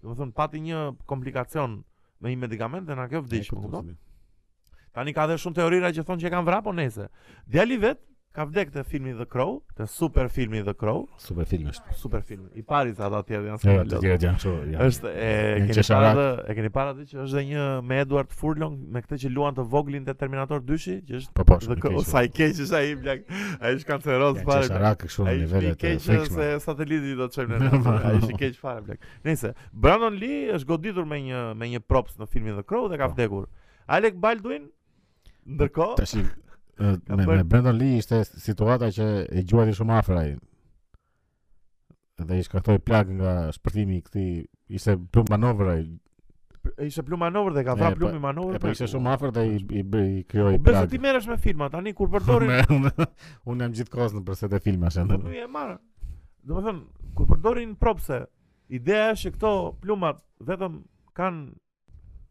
Domethënë pati një komplikacion me një medikament dhe na kjo
e po,
vdiq, më
kuptoj
kupton?
se di.
Tani ka dhe shumë teorira që thonë që e kanë vrarë, po nejse. Djali vet ka vdekë te filmi The Crow, te super filmi The Crow,
Super film është.
super filmi. I pari sa ata tjerë
Jo,
janë super
të
lodhë.
tjerë janë kështu. ja.
Është e
Një
keni parë
qesharak.
atë- e keni parë atë që është dhe një me Edward Furlong me këtë që luan të voglin te Terminator 2-shi, që është
Po po,
dhe
shumë
kë- o, sa i keq është ai blaq. Ai është kanceroz
Ja,
fare. blak.
qesharak kështu në
Ai është i
nivele të
keq
frikshme.
se sateliti do të çojmë ne. Ai është i keq fare blaq. Nëse Brandon Lee është goditur me një me një props në filmin The Crow dhe ka
Po.
vdekur. Alec Baldwin ndërkohë
Tash e,
Ka
me,
bërë-
me Brandon Lee ishte situata që e gjuati shumë afër ai. Dhe i shkaktoi plagë nga shpërthimi i këtij ishte plumb manovër ai.
ishte plum manovër dhe ka
E,
vrarë
po-
plumi manovër.
E po ishte shumë afër dhe i i, i, i
Po
krijoi
besoj ti
plagë.
merresh me filma tani kur përdorin
Me- unë- Unë jam gjithkohës në përse të filmash.
Po nuk e marr. Domethën, kur përdorin propse, ideja është që këto plumat vetëm kanë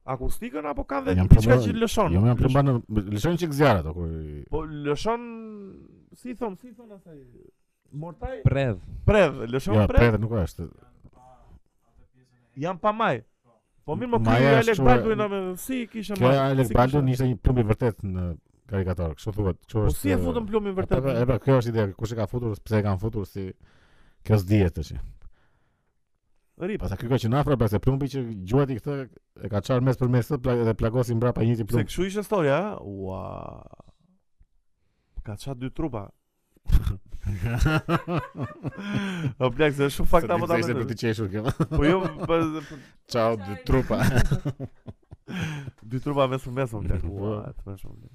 akustikën apo kanë dhe
Janë
diçka
plumbë-
që lëshon.
Jo, më jam plumb në lëshon çik zjarrat apo kur i-
Po lëshon si thon, si thon asaj mortaj
Prev.
predh, lëshon
Ja,
predh,
Jo, prerë nuk është.
janë pa maj. Po mirë më
Maja
ky
është
Alek
shumë-
Baldwin me si kishte
Kjo
maj.
Alec
si
Baldwin
kishte-
ishte një plumb i vërtet në karikator, kështu thuhet. Kështu
Po
është.
si e futën plumin
Po,
vërtet?
po, E pra, kjo është ideja, kush e ka futur, pse e kanë futur si kjo s'dihet tash.
Rip.
Pastaj ky ka qenë afër, pastaj plumbi që gjuati këtë e ka çar mes për mes të plag- dhe plagosi mbrapa njëti
Se
plumb.
kështu ishte historia, ha? ua. Ka çat dy trupa. O plak, se shumë fakta po ta
Se
mendoj.
për të qeshur kjo.
Po jo, po po-
Ciao dy trupa.
dy trupa mes për mes, o plak. Ua, të më shumë. plak.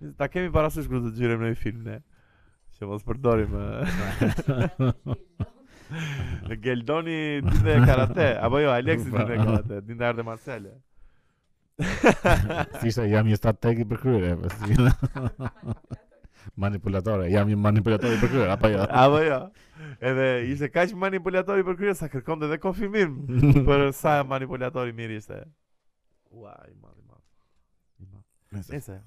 Nëse Ta kemi parasysh kur të gjyrem në një film ne. Që mos përdorim e, Geldoni ditë e karate, apo jo Alexi ditë e karate, ditë e arte marciale.
Si ishte jam një strateg i përkryer. e, pas- Manipulatore, jam një manipulator i përkryer, apo jo?
Apo jo. Edhe ishte kaq manipulator i përkryer sa kërkonte edhe konfirmim. Për sa manipulatori mirë ishte. Ua, i madh, i madh. I madh. Nëse.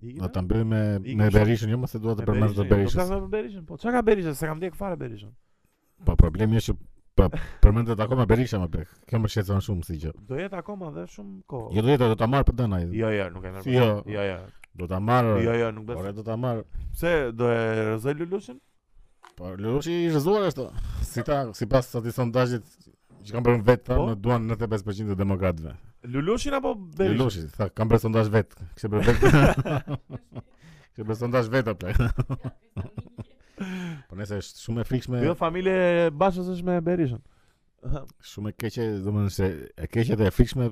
Ikime?
Do ta mbyllim me
Ikim
me
shumë.
Berishën, jo mos e dua të
Me
përmend të
Berishën, Do
Berishën.
flasim për Berishën. Po çka ka Berishën? Se kam ndjek fare Berishën.
Po problemi është që po, përmendet akoma Berisha më pak. jo? Kjo më shqetëson shumë si gjë.
Do jetë akoma dhe shumë kohë.
Jo do jetë do ta marr për dën ai.
jo, jo, nuk e merr.
Si jo?
jo, jo.
Do ta marr.
Jo, jo, nuk besoj.
Ore do ta marr.
Pse do e rrezoj Lulushin?
Po Lurushi i rëzuar është. o. Si ta sipas atij sondazhit që kanë bërë vetë
Po?
tha, në duan 95% të demokratëve.
Lulushin apo Berishën?
Lurushi tha kanë bërë sondazh vetë. Kishte bërë vetë. Kishte bërë sondazh vetë apo. po nëse është shumë e frikshme,
Jo, familje e Bashës është me Berishën.
shumë e keqe, domethënë se e keqe dhe e frikshme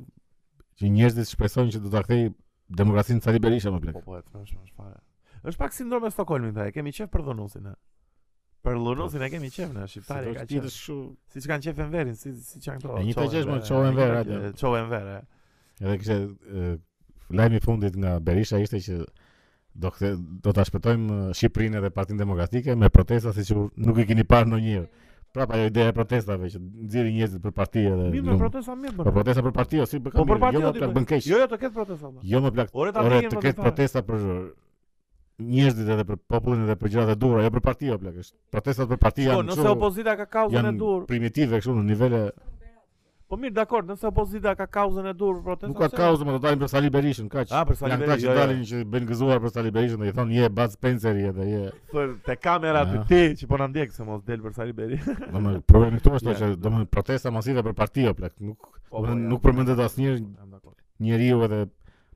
që njerëzit shpresojnë që do ta kthej demokracinë Sali Berisha më plak.
Po po, e thrashmë është fare. Është pak sindrome e Stockholmit, tha, e kemi qef për dhunusin. e. Për dhunusin e kemi qef në shqiptarë ka qef.
kështu.
Siç kanë qef Enverin, si si që kanë këto.
E njëjta
Çohen
gjë është, mo,
Enver,
Çohen
e,
Enver,
e,
hajde.
Çohen Enver. e.
Edhe kishte e, lajmi i fundit nga Berisha ishte që do kthe, do ta shpëtojmë e, Shqipërinë dhe Partinë Demokratike me protesta siç ju- nuk i keni parë ndonjëherë. Prapa ajo ideja e protestave që nxjerrin njerëzit për parti edhe
Mirë, me
lumë.
protesta mirë
Po
bën.
protesta për parti o si për
Po për
kamerë,
parti
jo
do
më
t'i
plak
bëj.
bën keq.
Jo, jo, të ketë protesta. valla.
Jo më plak.
Ore, ta
Ore
vdiqim
të
më të
ketë
fare.
protesta për njerëzit edhe për popullin edhe për gjërat e duhura, jo për partia plak, është protestat për partia
Po,
janë
nëse
kështu,
opozita ka kauzën e
janë
dur,
primitive kështu në nivele
po mirë, dakor, nëse opozita ka kauzën e dur, protesta.
nuk ka
pse-
kauzë, më do dalim për Sali Berishën, kaq.
A, për Sali
Janë këta
Berisha,
që
jo, jo.
dalin që bën gëzuar për Sali Berishën dhe i thonë je Bud Spencer edhe je.
Për te kamera të
Ja.
ti që po na ndjek se mos del për Sali Beri.
Domethënë problemi këtu është
Ja.
që domethënë protesta masive për partia plak, nuk
Po, po,
domethënë,
ja.
nuk përmendet asnjë
Jam dakor.
njeriu edhe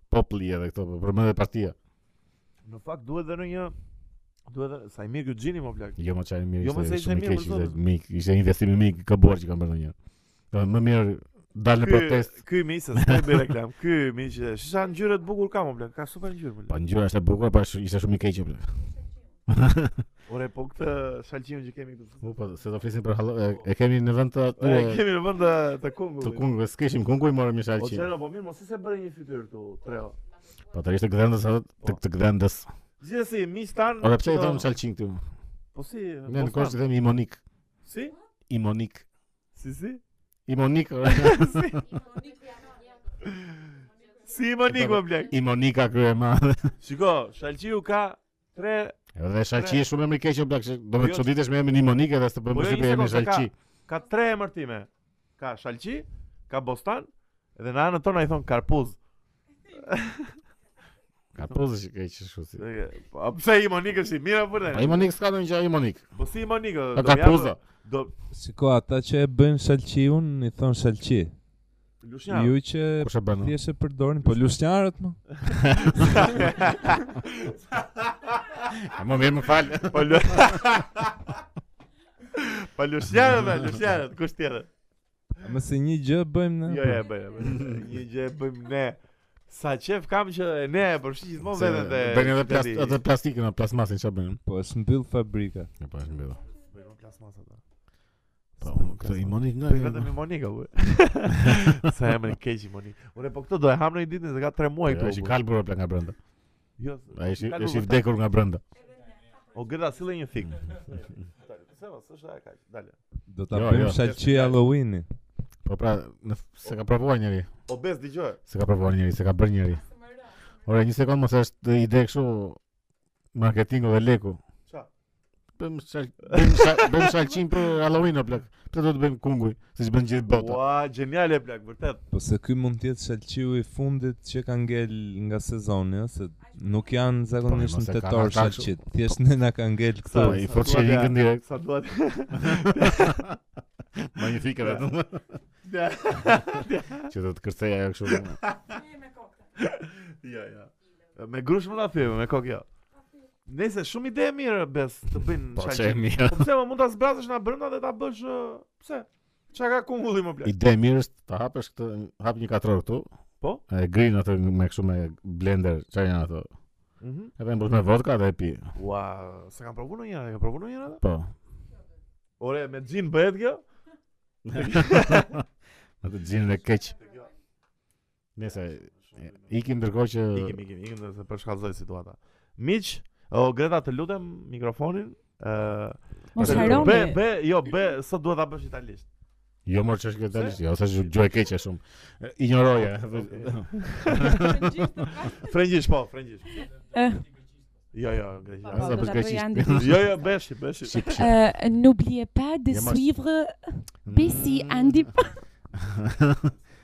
populli edhe këto, po përmendet partia.
Në fakt duhet edhe një duhet edhe sa i mirë Gjini më plak.
Jo më çaj mirë.
Jo, mos e ishte
shumë i
mirë,
keq,
për
ishte
zotin.
mik, ishte investim i mik i kabuar që kanë bërë ndonjë. Domethënë më mirë dal në protestë
Ky mi se s'ka bëj reklam. Ky mi që shisha ngjyrë të bukur ka më plak. Ka super ngjyrë më
Po
plak.
ngjyra është e bukur, po është- ishte shumë i keq bler.
Ore po këtë shalqimin që kemi këtu.
Po, po, se do flisim për hallo, e, e kemi në vend të
Po, E
aty
kemi në vend të të kungu.
të kungu, s'kishim kungu i morëm një
O
shalqi.
çero, po mirë, mos i se bëri një fytyrë këtu, treo.
Po të ishte gdhendës atë të të gdhendës.
Po, Gjithsesi, mi stan.
Ora pse i
këto-
thonë shalqin këtu?
Po si,
Ne në
po
kohë që
stan.
themi imonik.
Si?
Imonik.
Si si?
Imonik. ore.
Si më nik më plak.
Imonika krye ma.
Shiko, shalqiu ka tre
Edhe shalqi është shumë emri keq o blaq, se do
Po
të
jo-
çuditesh me emrin Imonik edhe s'të
Po
bëjmë
jo,
si
një
emrin
sekondë, se ka-
shalqi.
ka tre emërtime. Ka shalqi, ka bostan, dhe në anën tonë ai thon karpuz.
Ka pozë që keq kështu si.
E, po, A pse i monik është i mirë apo
Po
ne?
Imonik s'ka ndonjë gjë Imonik.
Po si i monik? o,
Ka
do japë-
karpuza.
Do
Shiko, ata që e bëjnë shalqiun, i thonë shalqi.
Lushnjak.
Ju që
Po
Kush e bën?
thjesht e përdorin, po lushnjarët më.
E, Më mirë më fal.
Po lu... Po lushnjarët, dhe, lushnjarët, kush tjetër?
Më se një gjë bëjmë ne.
Jo, jo, bëjmë. bëjmë. Një gjë e bëjmë ne. Sa qef kam që ne e përfshi gjithmonë
Se
veten te.
Bëjnë edhe
te
plast,
di.
edhe plastikën, o, plasmasin çfarë bëjnë?
Po e mbyll fabrika.
E pa është mbyllur.
Bëjmë plasmasa ta.
Po, këto Imonik nga.
Po vetëm i Monika u. Sa emri keq i Monika. Ure po këto do e ham në një ditë se ka 3 muaj këtu.
Është i
bu.
kalbur o, plak nga brenda.
Jo.
Ai është
kalbur,
është i
po,
vdekur nga brenda.
O gërda sille një fik. Dale, pse mos është ajo kaq. Dale.
Do ta
Jo,
bëjmë
jo.
shalqi Halloweeni.
Po pra, në, se ka provuar njëri,
Obez dëgjoj.
se ka provuar njëri, se ka bërë njëri. Ore, një sekond mos është ide kështu marketingu dhe leku.
Ça?
Bëjmë shal, bëjmë shal, bëjmë shalqin për Halloween o plak. Pse do të bëjmë kunguj, siç bën gjithë bota.
Ua, geniale plak, vërtet.
Po se ky mund të jetë shalqiu i fundit që ka ngel nga sezoni, ëh, se nuk janë zakonisht
Po, mos e
në
kanë
tetor
ata kështu.
shalqit. Thjesht ne na ka ngel
Po,
këtu.
i
sa
fut
duat,
shelingën
ja.
direkt.
Sa duhet.
Magnifike vetëm. Që do të kërcej ajo kështu.
Jo, jo. Me grush më ta thyem, me kokë jo. Nëse shumë ide e mirë bes të bëjnë
Po çe
shalqin.
mirë.
Po pse më mund ta zbrazësh na brenda dhe ta bësh ë, pse? Çka ka kungulli më plak?
Ide e mirë është ta hapësh këtë, hap një katror këtu.
Po?
E grin atë me kështu me blender, çfarë janë ato?
Mhm.
Edhe mbush me vodka dhe e pi.
Ua, se kam provu ndonjëra, e kam provu ndonjëra? ata?
Po.
Ore, me gin bëhet kjo?
Atë xhinin e keq. Nëse ikim ndërkohë që
Ikim, ikim, ikim, dhe se përshkallëzoj situata. Miq, o Greta, të lutem mikrofonin. ë
Mos
të-
haroni.
Be, be, jo, be, sot duhet ta bësh italisht.
jo më ç'është këtë tani, jo, sa gjë e keqe shumë. E, Injoroje.
Frëngjisht, po, frëngjisht.
Eh. po,
Jo, jo, greqisht.
Sa për greqisht.
Jo, jo, beshi, beshi.
Shqip, shqip.
Euh, N'oubliez pas de
Yamash.
suivre Bessie Andy.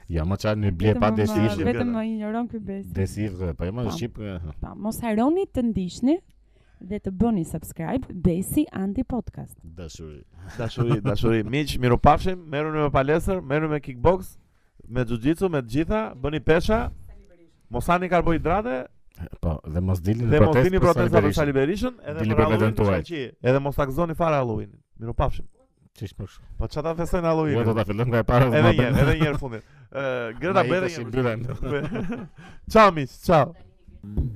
Ja më çan në ble pa
ishim
desivë.
vetë-
Vetëm
gjëra.
më ignoron ky Bessie.
Desivë, po jam në shqip. e,
Pa, mos harroni të ndiqni dhe të bëni subscribe Bessie Andy Podcast.
Dashuri.
Dashuri, dashuri. Miq, mirupafshim, merruni me palestër, merruni me kickbox, me jiu-jitsu, me të gjitha, bëni pesha. Mos hani karbohidrate,
Po, dhe mos dilni
Dhe
në
mos vini
protestë
protesta
Sali
për Sali Berishën edhe
Dini
për
për
Halloween
veten tuaj.
në Shqipëri. Edhe mos takzoni fare Halloweenin. Miru pafshim.
Çish më shumë.
Po çfarë ta
Jo
festojnë
do
Halloweenin?
ta fillojmë nga e para.
Edhe një herë, edhe një herë fundit. Ë, Greta
Ma ikësh i
bëre
byllen.
një. Ciao miq, ciao.